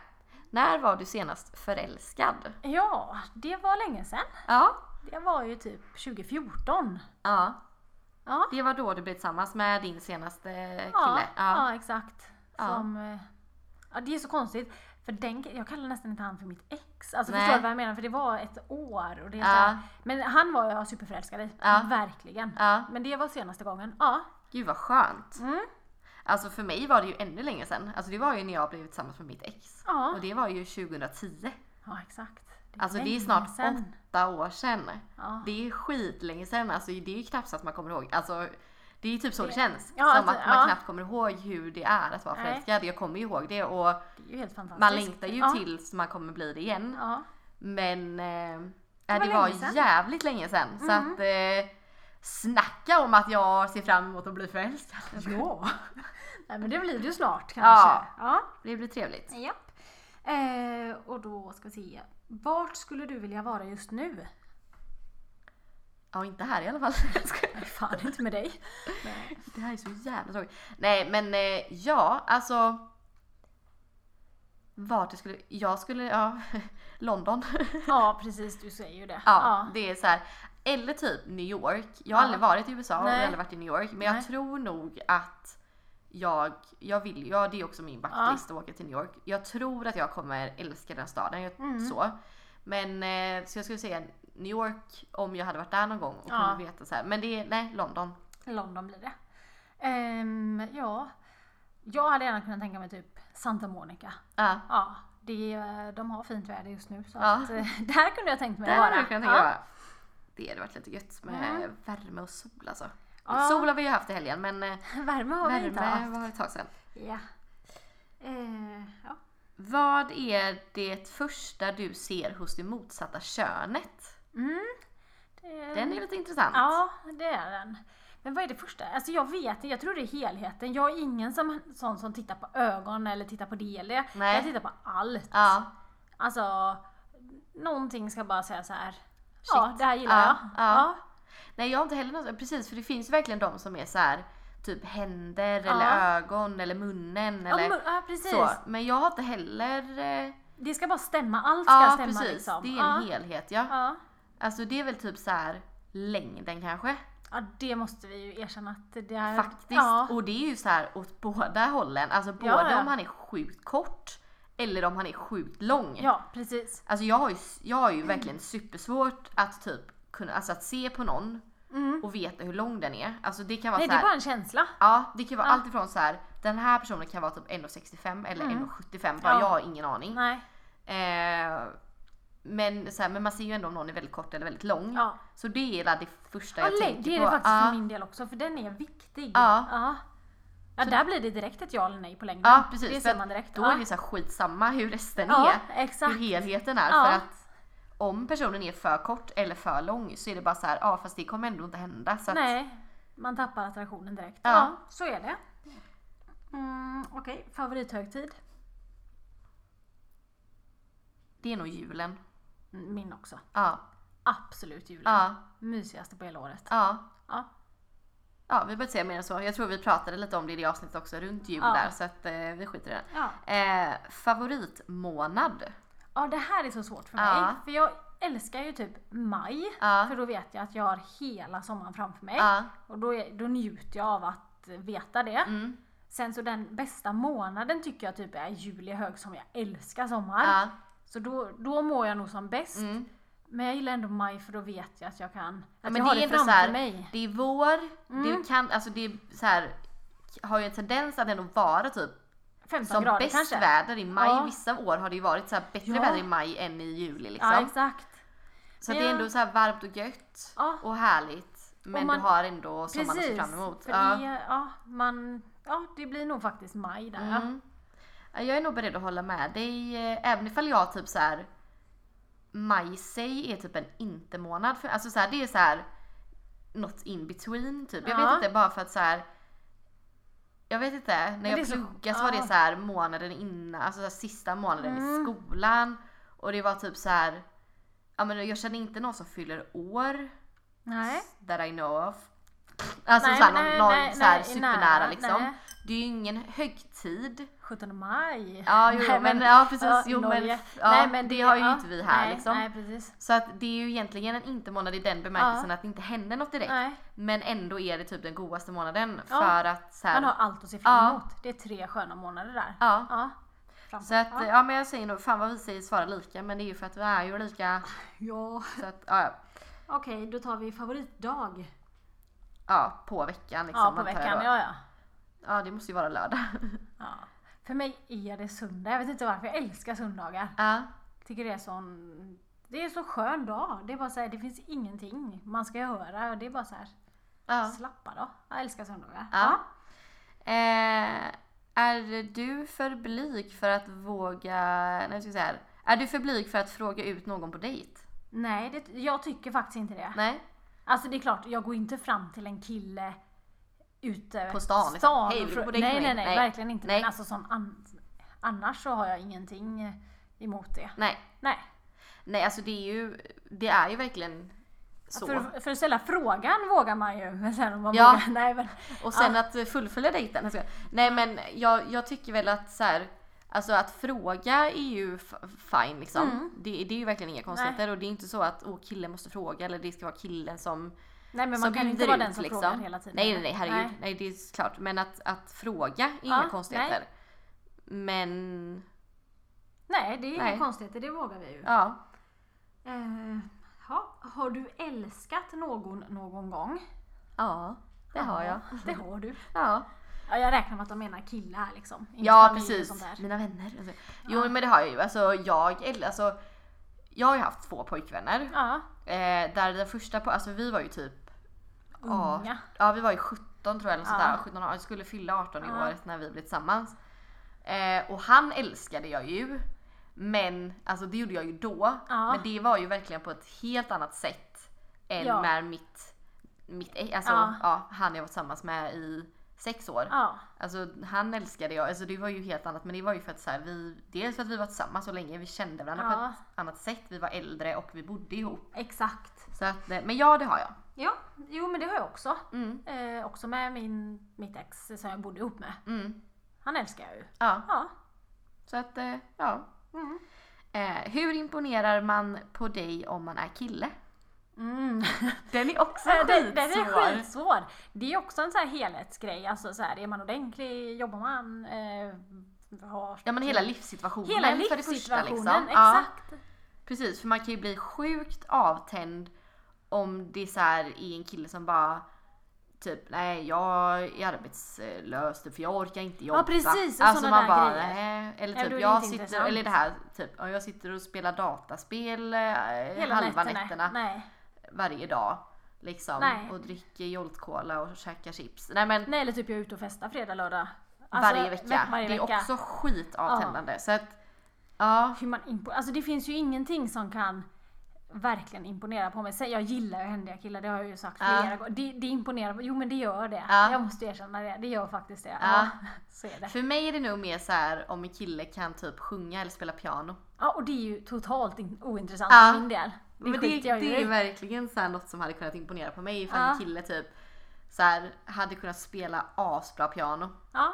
S1: När var du senast förälskad?
S2: ja, det var länge sedan.
S1: Ja.
S2: Det var ju typ 2014.
S1: ja.
S2: Ja,
S1: Det var då du blev tillsammans med din senaste kille?
S2: ja, ja exakt.
S1: Ja.
S2: Som, eh, ja, det är så konstigt. För den, jag kallar nästan inte han för mitt ex. Alltså,
S1: Nej.
S2: förstår du vad jag menar? För det var ett år. Och det är
S1: Ja.
S2: så här, men han var jag superförälskad i.
S1: Ja.
S2: Verkligen.
S1: ja.
S2: Men det var senaste gången. Ja.
S1: Gud vad skönt.
S2: Mm.
S1: Alltså för mig var det ju ännu längre sedan. Alltså det var ju när jag blev tillsammans med mitt ex.
S2: Ja.
S1: Och det var ju 2010.
S2: Ja, exakt. Det
S1: Alltså det är
S2: länge
S1: snart
S2: sedan.
S1: åtta år sedan.
S2: Ja.
S1: Det är skitlänge sedan. Alltså det är ju knappt så att man kommer ihåg. Alltså det är ju typ så det,
S2: Det-
S1: känns.
S2: Ja,
S1: Som
S2: alltså,
S1: att man
S2: ja.
S1: knappt kommer ihåg hur det är att vara
S2: Nej.
S1: förälskad. Jag kommer ju ihåg det och
S2: Det är ju helt fantastiskt.
S1: man längtar ju
S2: ja.
S1: tills man kommer bli det igen.
S2: Ja.
S1: Men eh,
S2: var
S1: det, det
S2: länge
S1: var
S2: sedan. Mm.
S1: jävligt länge sedan. Så att eh, snacka om att jag ser fram emot att bli förälskad.
S2: ja. Nej men det blir det ju snart
S1: Ja.
S2: kanske. Ja.
S1: Det blir trevligt.
S2: Japp. Eh, och då ska vi se. Vart skulle du vilja vara just nu?
S1: Ja inte här i alla fall.
S2: Nej, Fan inte med dig. Nej.
S1: Det här är så jävla tråkigt. Nej men eh, ja, alltså. Vart jag skulle, jag skulle, ja, London. ja,
S2: Ja precis, du säger ju det.
S1: det är så här. Eller typ New York. Jag har
S2: Ja.
S1: aldrig varit i USA och jag har
S2: Nej.
S1: aldrig varit i New York. Men
S2: Nej.
S1: jag tror nog att jag, jag vill, ja det är också min bucketlist att åka till New York. Jag tror att jag kommer älska den staden. Jag,
S2: Mm.
S1: Så. Men eh, så jag skulle säga New York om jag hade varit där någon gång och
S2: Ja.
S1: kunde veta så här. Men det är, nej London.
S2: London blir det. Ehm, ja. Jag hade gärna kunnat tänka mig typ Santa Monica.
S1: Ja.
S2: Ja, det, är- de har fint väder just nu så
S1: Ja.
S2: att, eh, där kunde jag tänkt mig
S1: Det
S2: att
S1: hade
S2: vara.
S1: jag kunnat tänka mig. Det hade varit lite gött med
S2: Mm.
S1: värme och sol alltså.
S2: Ja.
S1: Sol har vi ju haft i helgen men eh,
S2: Värme har vi inte
S1: värme
S2: haft.
S1: var ett tag sedan.
S2: Ja. Eh, ja.
S1: Vad är det första du ser hos det motsatta könet?
S2: Mm. Det-
S1: Den är lite intressant.
S2: Mm. Ja, det är den. Men vad är det första? Alltså jag vet inte, jag tror det är helheten. Jag är ingen som, sån som tittar på ögon eller tittar på det eller det.
S1: Nej.
S2: Jag tittar på allt.
S1: Ja,
S2: Alltså, någonting ska bara säga så här. Ja,
S1: Shit.
S2: det här gillar
S1: Ja,
S2: jag.
S1: ja. Nej jag har inte heller något, precis för det finns ju verkligen de som är så här typ händer
S2: Ja.
S1: eller ögon eller munnen
S2: Ja,
S1: eller
S2: men- ja, precis.
S1: så. Men jag har inte heller... eh,
S2: Det ska bara stämma. Allt ska
S1: Ja
S2: stämma
S1: precis,
S2: liksom.
S1: det är en
S2: ja.
S1: helhet ja.
S2: ja.
S1: Alltså det är väl typ så här längden kanske.
S2: ja, det måste vi ju erkänna att det är.
S1: Faktiskt.
S2: Ja.
S1: Och det är ju så här åt båda hållen. Alltså både
S2: Ja, ja.
S1: om han är sjukt kort Eller om han är sjukt lång.
S2: Ja, precis.
S1: Alltså jag har ju, jag har ju verkligen supersvårt att typ kunna, alltså att se på någon och veta hur lång den är. Alltså det kan vara
S2: Mm.
S1: så
S2: Nej, det är
S1: här,
S2: bara en känsla.
S1: Ja, det kan vara
S2: Ja.
S1: allt ifrån så här. Den här personen kan vara typ 1,65 eller 1,75 bara
S2: Mm. Ja.
S1: jag har ingen aning.
S2: Nej.
S1: Eh, men, så här, men man ser ju ändå om någon är väldigt kort eller väldigt lång.
S2: Ja.
S1: Så det är det första
S2: Ja,
S1: jag
S2: lägg-
S1: tänker
S2: det är
S1: på.
S2: det faktiskt
S1: ja,
S2: för min del också, för den är viktig.
S1: Ja.
S2: Ja, Ja, där blir det direkt ett ja eller nej på längden.
S1: ja precis.
S2: Det
S1: för
S2: ser
S1: att
S2: man direkt.
S1: Då
S2: ja.
S1: är det så här skitsamma hur resten
S2: ja,
S1: är.
S2: exakt.
S1: Hur helheten är.
S2: Ja.
S1: För att om personen är för kort eller för lång så är det bara så här, ja fast det kommer ändå inte hända. Så att,
S2: Nej, man tappar attraktionen direkt.
S1: Ja.
S2: Ja, så är det. Mm, Okej, favorithögtid?
S1: det är nog julen.
S2: Mm, Min också.
S1: Ja,
S2: Absolut julen.
S1: ja,
S2: Mysigaste på hela året.
S1: ja.
S2: Ja.
S1: Ja, vi behöver inte säga mer än så. Jag tror vi pratade lite om det i det avsnittet också runt jul
S2: Ja.
S1: där så att eh, vi skiter i det.
S2: Ja.
S1: Eh, favoritmånad?
S2: ja, det här är så svårt för mig.
S1: Ja.
S2: För jag älskar ju typ maj.
S1: Ja.
S2: För då vet jag att jag har hela sommaren framför mig.
S1: Ja.
S2: Och då, är, då njuter jag av att veta det.
S1: Mm.
S2: Sen så den bästa månaden tycker jag typ är juli, högsommar. Jag älskar sommar.
S1: Ja.
S2: Så då, då mår jag nog som bäst.
S1: Mm.
S2: Men jag gillar ändå maj för då vet jag att jag kan. Att
S1: Ja, men
S2: jag har
S1: det är
S2: det
S1: ändå så
S2: framför
S1: här,
S2: mig. Mm.
S1: det är vår, det kan, alltså det är så här, har ju en tendens att ändå vara typ
S2: 15
S1: som
S2: grader
S1: bäst
S2: kanske.
S1: väder i maj.
S2: Ja.
S1: Vissa år har det ju varit så här bättre
S2: Ja.
S1: väder i maj än i juli liksom.
S2: Ja exakt.
S1: så att det är
S2: Ja.
S1: ändå så här varmt och gött
S2: Ja.
S1: och härligt. Men
S2: man-
S1: du har ändå sommaren att se
S2: Precis.
S1: fram emot.
S2: För
S1: Ja.
S2: det, ja, man, ja, det blir nog faktiskt maj där. ja.
S1: Mm. Ja, Jag är nog beredd att hålla med dig. eh, Även ifall jag typ så här. Maj i sig är typ en inte-månad. För, alltså så här, det är så här. Något in between typ. Jag vet
S2: Ja.
S1: inte bara för att så här. Jag vet inte. När
S2: det är
S1: jag
S2: så-
S1: pluggade så, var det
S2: ja. Mm.
S1: så här månaden innan. Alltså så här, sista månaden i skolan. Och det var typ så här. Ja men jag känner inte någon som fyller år.
S2: Nej.
S1: That I know of. Alltså
S2: Nej,
S1: såhär, någon,
S2: men nej,
S1: någon
S2: nej,
S1: så här,
S2: nej,
S1: supernära
S2: nära,
S1: liksom.
S2: nej.
S1: Det är ju ingen högtid.
S2: 17 maj.
S1: Ja, jo,
S2: Nej,
S1: men, ja precis.
S2: ja,
S1: jo, men,
S2: Norge.
S1: ja, det, har ju
S2: ja,
S1: inte vi här
S2: nej,
S1: liksom.
S2: Nej precis.
S1: Så att det är ju egentligen en inte-månad i den bemärkelsen att det inte händer något direkt.
S2: Nej.
S1: Men ändå är det typ den godaste månaden
S2: Ja.
S1: för att så här,
S2: Man har allt att se fram
S1: Ja.
S2: emot. Det är tre sköna månader där.
S1: Ja.
S2: ja. Framför-
S1: Så att, ja.
S2: ja.
S1: men jag säger nog, fan vad vi säger svara lika men det är ju för att vi är ju lika.
S2: ja.
S1: Så att, ja, ja.
S2: Okej, då tar vi favoritdag.
S1: ja på veckan liksom.
S2: Ja, på
S1: antar jag
S2: veckan.
S1: då.
S2: Ja, ja.
S1: ja det måste ju vara lördag.
S2: ja. För mig är det söndag. Jag vet inte varför. Jag älskar söndagar.
S1: ja.
S2: tycker det är sån... Det är en så skön dag. Det är bara så här, det finns ingenting man ska göra. och Det är bara så här,
S1: Ja.
S2: slappa då. Jag älskar söndagar.
S1: Ja. Eh, är du för blyg för att våga, nej jag ska säga här. Är du för blyg för att fråga ut någon på dejt?
S2: Nej, det, jag tycker faktiskt inte det.
S1: Nej?
S2: Alltså det är klart, jag går inte fram till en kille ute
S1: På stan, liksom.
S2: stan och
S1: Hej, vill du
S2: frå-
S1: på dejt
S2: nej,
S1: med
S2: nej,
S1: mig?
S2: nej,
S1: Nej.
S2: verkligen inte.
S1: Nej.
S2: Men alltså sån an- annars så har jag ingenting emot det.
S1: Nej.
S2: Nej.
S1: Nej, alltså det är ju, det är ju verkligen så.
S2: För, för att ställa frågan vågar man ju. Men sen om man
S1: Ja.
S2: vågar, nej men.
S1: Och sen att fullfölja dejten. Jag skojar. Nej men jag, jag tycker väl att så här, alltså att fråga är ju f- fine liksom. Det, det är ju verkligen inga konstigheter och det är inte så att åh, killen måste fråga eller det ska vara killen som
S2: Nej men
S1: som
S2: man kan ju inte
S1: bjuder
S2: vara
S1: ut,
S2: den som frågar hela tiden.
S1: Nej nej nej herregud. Nej. det är klart. Men att, att fråga är
S2: Ja,
S1: inga konstigheter. Men
S2: Nej, det är inga
S1: Nej.
S2: konstigheter, det vågar vi ju.
S1: ja.
S2: Eh, ja. Har du älskat någon någon gång?
S1: Ja det har jag.
S2: Ja, Det har du.
S1: Ja.
S2: Ja, jag räknar med att de menar kille här liksom. inte
S1: Ja
S2: familj och
S1: precis,
S2: sånt där.
S1: mina vänner. Alltså, Jo men det har jag ju. Alltså jag, eller alltså, jag har ju haft två pojkvänner.
S2: Ja,
S1: Eh, där den första, på, alltså vi var ju typ, ja,
S2: unga.
S1: ja vi var ju 17 tror jag eller sådär.
S2: Ja.
S1: 17 år, skulle fylla 18 i
S2: Ja.
S1: året när vi blev tillsammans. Eh, och han älskade jag ju. Men alltså det gjorde jag ju då.
S2: Ja.
S1: Men det var ju verkligen på ett helt annat sätt än
S2: Ja.
S1: med mitt, mitt ex- alltså, ja.
S2: Ja.
S1: han jag var tillsammans med i sex år.
S2: Ja,
S1: Alltså han älskade jag, alltså det var ju helt annat men det var ju för att så här, vi, dels för att vi var tillsammans så länge, vi kände varandra på
S2: Ja.
S1: ett annat sätt, vi var äldre och vi bodde ihop.
S2: exakt.
S1: Så att, eh, men ja det har jag.
S2: Ja, jo men det har jag också.
S1: Mm,
S2: Eh, också med min, mitt ex som jag bodde ihop med.
S1: mm,
S2: Han älskar jag ju.
S1: ja.
S2: Ja.
S1: Så att eh, ja.
S2: Mm.
S1: Eh, hur imponerar man på dig om man är kille?
S2: Mm.
S1: Den är också
S2: Den, den är
S1: skitsvår.
S2: skitsvår. Det är också en så här helhetsgrej. Alltså så här, är man ordentlig? Jobbar man? Eh, Vart?
S1: Ja men hela livssituationen
S2: Hela
S1: för det första
S2: livssituationen,
S1: liksom. Ja,
S2: exakt.
S1: precis, för man kan ju bli sjukt avtänd om det så här är en kille som bara typ nej jag är arbetslös typ, för jag orkar inte jobba.
S2: precis, och
S1: alltså
S2: såna
S1: man
S2: där
S1: bara
S2: grejer.
S1: nej. Eller
S2: Ja,
S1: typ
S2: då är det
S1: jag
S2: inte
S1: sitter,
S2: intressant.
S1: eller det här typ, ja, jag sitter och spelar dataspel eh, halva nätterna
S2: Nej.
S1: varje dag. Liksom
S2: Nej.
S1: och dricker Jolt Cola och käkar chips. Nej men
S2: Nej eller typ jag är ute och festar fredag, lördag.
S1: varje vecka.
S2: veck- Alltså, Varje
S1: det är
S2: vecka.
S1: också skitavtändande. Så att, ja.
S2: Hur man impo- alltså det finns ju ingenting som kan verkligen imponera på mig. Sen, jag gillar ju händiga killar, det har jag ju sagt
S1: Ja.
S2: flera gånger. Det, det imponerar, jo men det gör det.
S1: Ja.
S2: Jag måste erkänna det, det gör faktiskt det.
S1: Ja.
S2: så är det.
S1: För mig är det nog mer så här om en kille kan typ sjunga eller spela piano.
S2: Ja, och det är ju totalt in- ointressant
S1: Ja.
S2: för min del. Det
S1: Men det,
S2: skiter jag ju
S1: det är
S2: i.
S1: verkligen så här något som hade kunnat imponera på mig ifall
S2: Ja.
S1: en kille typ så här, hade kunnat spela asbra piano.
S2: Ja.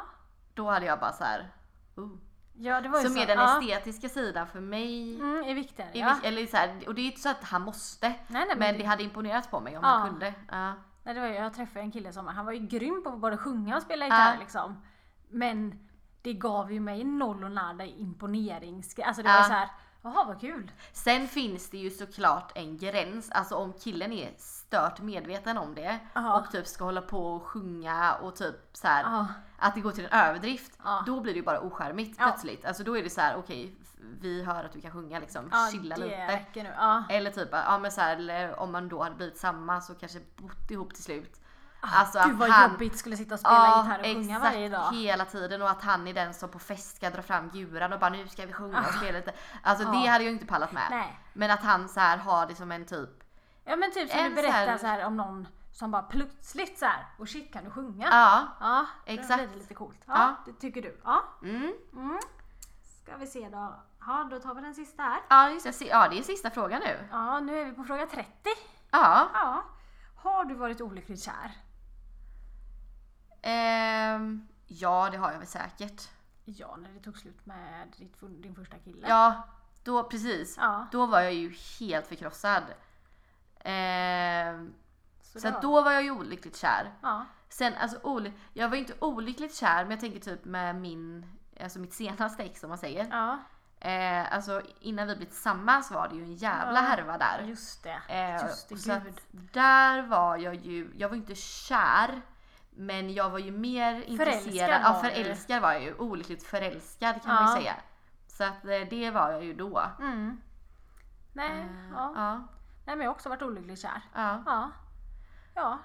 S1: Då hade jag bara så här. Oh.
S2: ja, det var ju
S1: Så
S2: så.
S1: mer den
S2: ja.
S1: estetiska sidan för mig.
S2: mm, är viktigare.
S1: är
S2: Ja.
S1: vik- Eller så här, och det är ju inte så att han måste.
S2: nej, men
S1: men
S2: det-
S1: det hade imponerat på mig om
S2: Ja.
S1: han kunde. Ja.
S2: Nej, det var, ju- jag träffade en kille som han var ju grym på att både sjunga och spela gitarr
S1: Ja.
S2: liksom. Men det gav ju mig noll och nada imponerings... Alltså det
S1: Ja.
S2: var så här, jaha vad kul.
S1: Sen finns det ju såklart en gräns, alltså om killen är stört medveten om det
S2: Ja.
S1: och typ ska hålla på och sjunga och typ så här,
S2: Ja.
S1: att det går till en överdrift,
S2: Ja.
S1: då blir det ju bara oskärmigt
S2: Ja.
S1: plötsligt. Alltså då är det så här: okej vi hör att du kan sjunga liksom, chilla
S2: det
S1: lite.
S2: räcker nu. Ja.
S1: Eller typ, ja men så här, eller om man då hade blivit samma så kanske bott ihop till slut. Alltså att
S2: Ah, Gud vad
S1: han-
S2: jobbigt skulle sitta och spela
S1: Ja,
S2: gitarr och sjunga
S1: exakt,
S2: varje dag.
S1: hela tiden och att han är den som på fest ska dra fram guran och bara nu ska vi sjunga och spela lite. Alltså det
S2: Ah. Ja.
S1: hade jag ju inte pallat med.
S2: Nej.
S1: Men att han så här har det som en typ,
S2: Ja men typ som
S1: En
S2: du berättar
S1: så här-
S2: så här om någon som bara plötsligt så här, och shit kan du sjunga?
S1: ja.
S2: Ja, Då
S1: Exakt.
S2: blir det lite coolt. Ja,
S1: Ja.
S2: Det tycker du. Ja.
S1: Mm.
S2: Mm. Ska vi se då. Ja, då tar vi den sista här.
S1: Ja, just det. Si- ja det är sista frågan nu.
S2: Ja, nu är vi på fråga 30.
S1: Ja.
S2: Ja. Har du varit olyckligt kär?
S1: Ehm, ja det har jag väl säkert.
S2: Ja, när det tog slut med ditt, din första kille.
S1: Ja, då precis.
S2: Ja.
S1: Då var jag ju helt förkrossad. Ehm, så
S2: det
S1: att
S2: var-
S1: då var jag ju olyckligt kär.
S2: Ja.
S1: Sen, alltså, oly- jag var ju inte olyckligt kär men jag tänker typ med min, alltså mitt senaste ex om man säger.
S2: ja.
S1: Eh, alltså innan vi blev tillsammans var det ju en jävla
S2: Ja.
S1: härva där.
S2: Just det.
S1: Eh,
S2: Just det,
S1: så att
S2: gud.
S1: där var jag ju, jag var ju inte kär men jag var ju mer intresserad, ja
S2: var du.
S1: förälskad var jag ju, olyckligt förälskad kan man
S2: Ja.
S1: ju säga. Så att eh, det var jag ju då.
S2: Mm. Nej,
S1: Eh,
S2: ja.
S1: ja,
S2: Nej, men jag har också varit olyckligt kär.
S1: ja.
S2: Ja. Ja.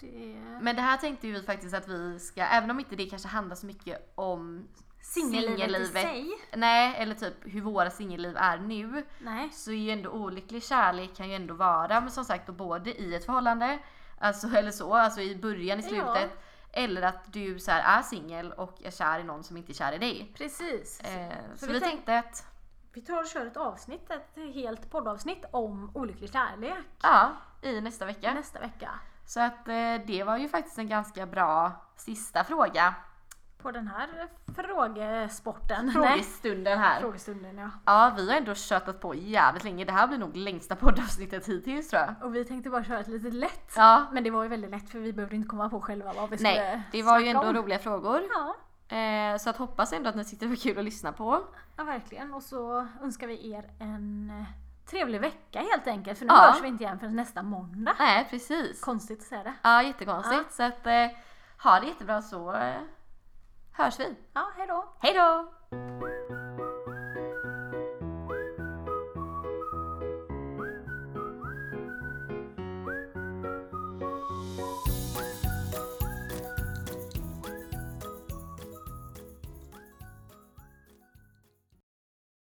S2: Det är...
S1: Men det här tänkte ju vi faktiskt att vi ska, även om inte det kanske handlar så mycket om Singellivet.
S2: sig.
S1: nej eller typ hur våra singelliv är nu
S2: Nej.
S1: så är ju ändå olycklig kärlek kan ju ändå vara men som sagt då både i ett förhållande, alltså, eller så, alltså i början, i
S2: Ja.
S1: slutet. Eller att du så här är singel och är kär i någon som inte är kär i dig.
S2: Precis.
S1: Eh, så
S2: vi
S1: vi
S2: tänk-
S1: tänkte att,
S2: Vi tar och kör ett avsnitt, ett helt poddavsnitt om olycklig kärlek
S1: ja, i nästa vecka.
S2: nästa vecka.
S1: Så att eh, det var ju faktiskt en ganska bra sista fråga.
S2: På den här frågesporten. Nej.
S1: Frågestunden här.
S2: Frågestunden ja.
S1: Ja, vi har ändå tjötat på jävligt länge. Det här blir nog längsta poddavsnittet hittills tror jag.
S2: Och vi tänkte bara köra ett litet lätt.
S1: Ja,
S2: Men det var ju väldigt lätt för vi behövde inte komma på själva vad vi skulle
S1: nej, det var ju
S2: snacka
S1: ändå
S2: om.
S1: roliga frågor.
S2: Ja,
S1: Eh, så att hoppas ändå att ni tyckte det var kul att lyssna på.
S2: ja, verkligen. Och så önskar vi er en eh, trevlig vecka helt enkelt. För nu
S1: Ja.
S2: hörs vi inte igen förrän nästa måndag.
S1: Nej, precis.
S2: Konstigt att säga det.
S1: Ja, jättekonstigt. Så att eh, ha det jättebra så eh, hörs vi.
S2: Ja, hejdå.
S1: Hej då!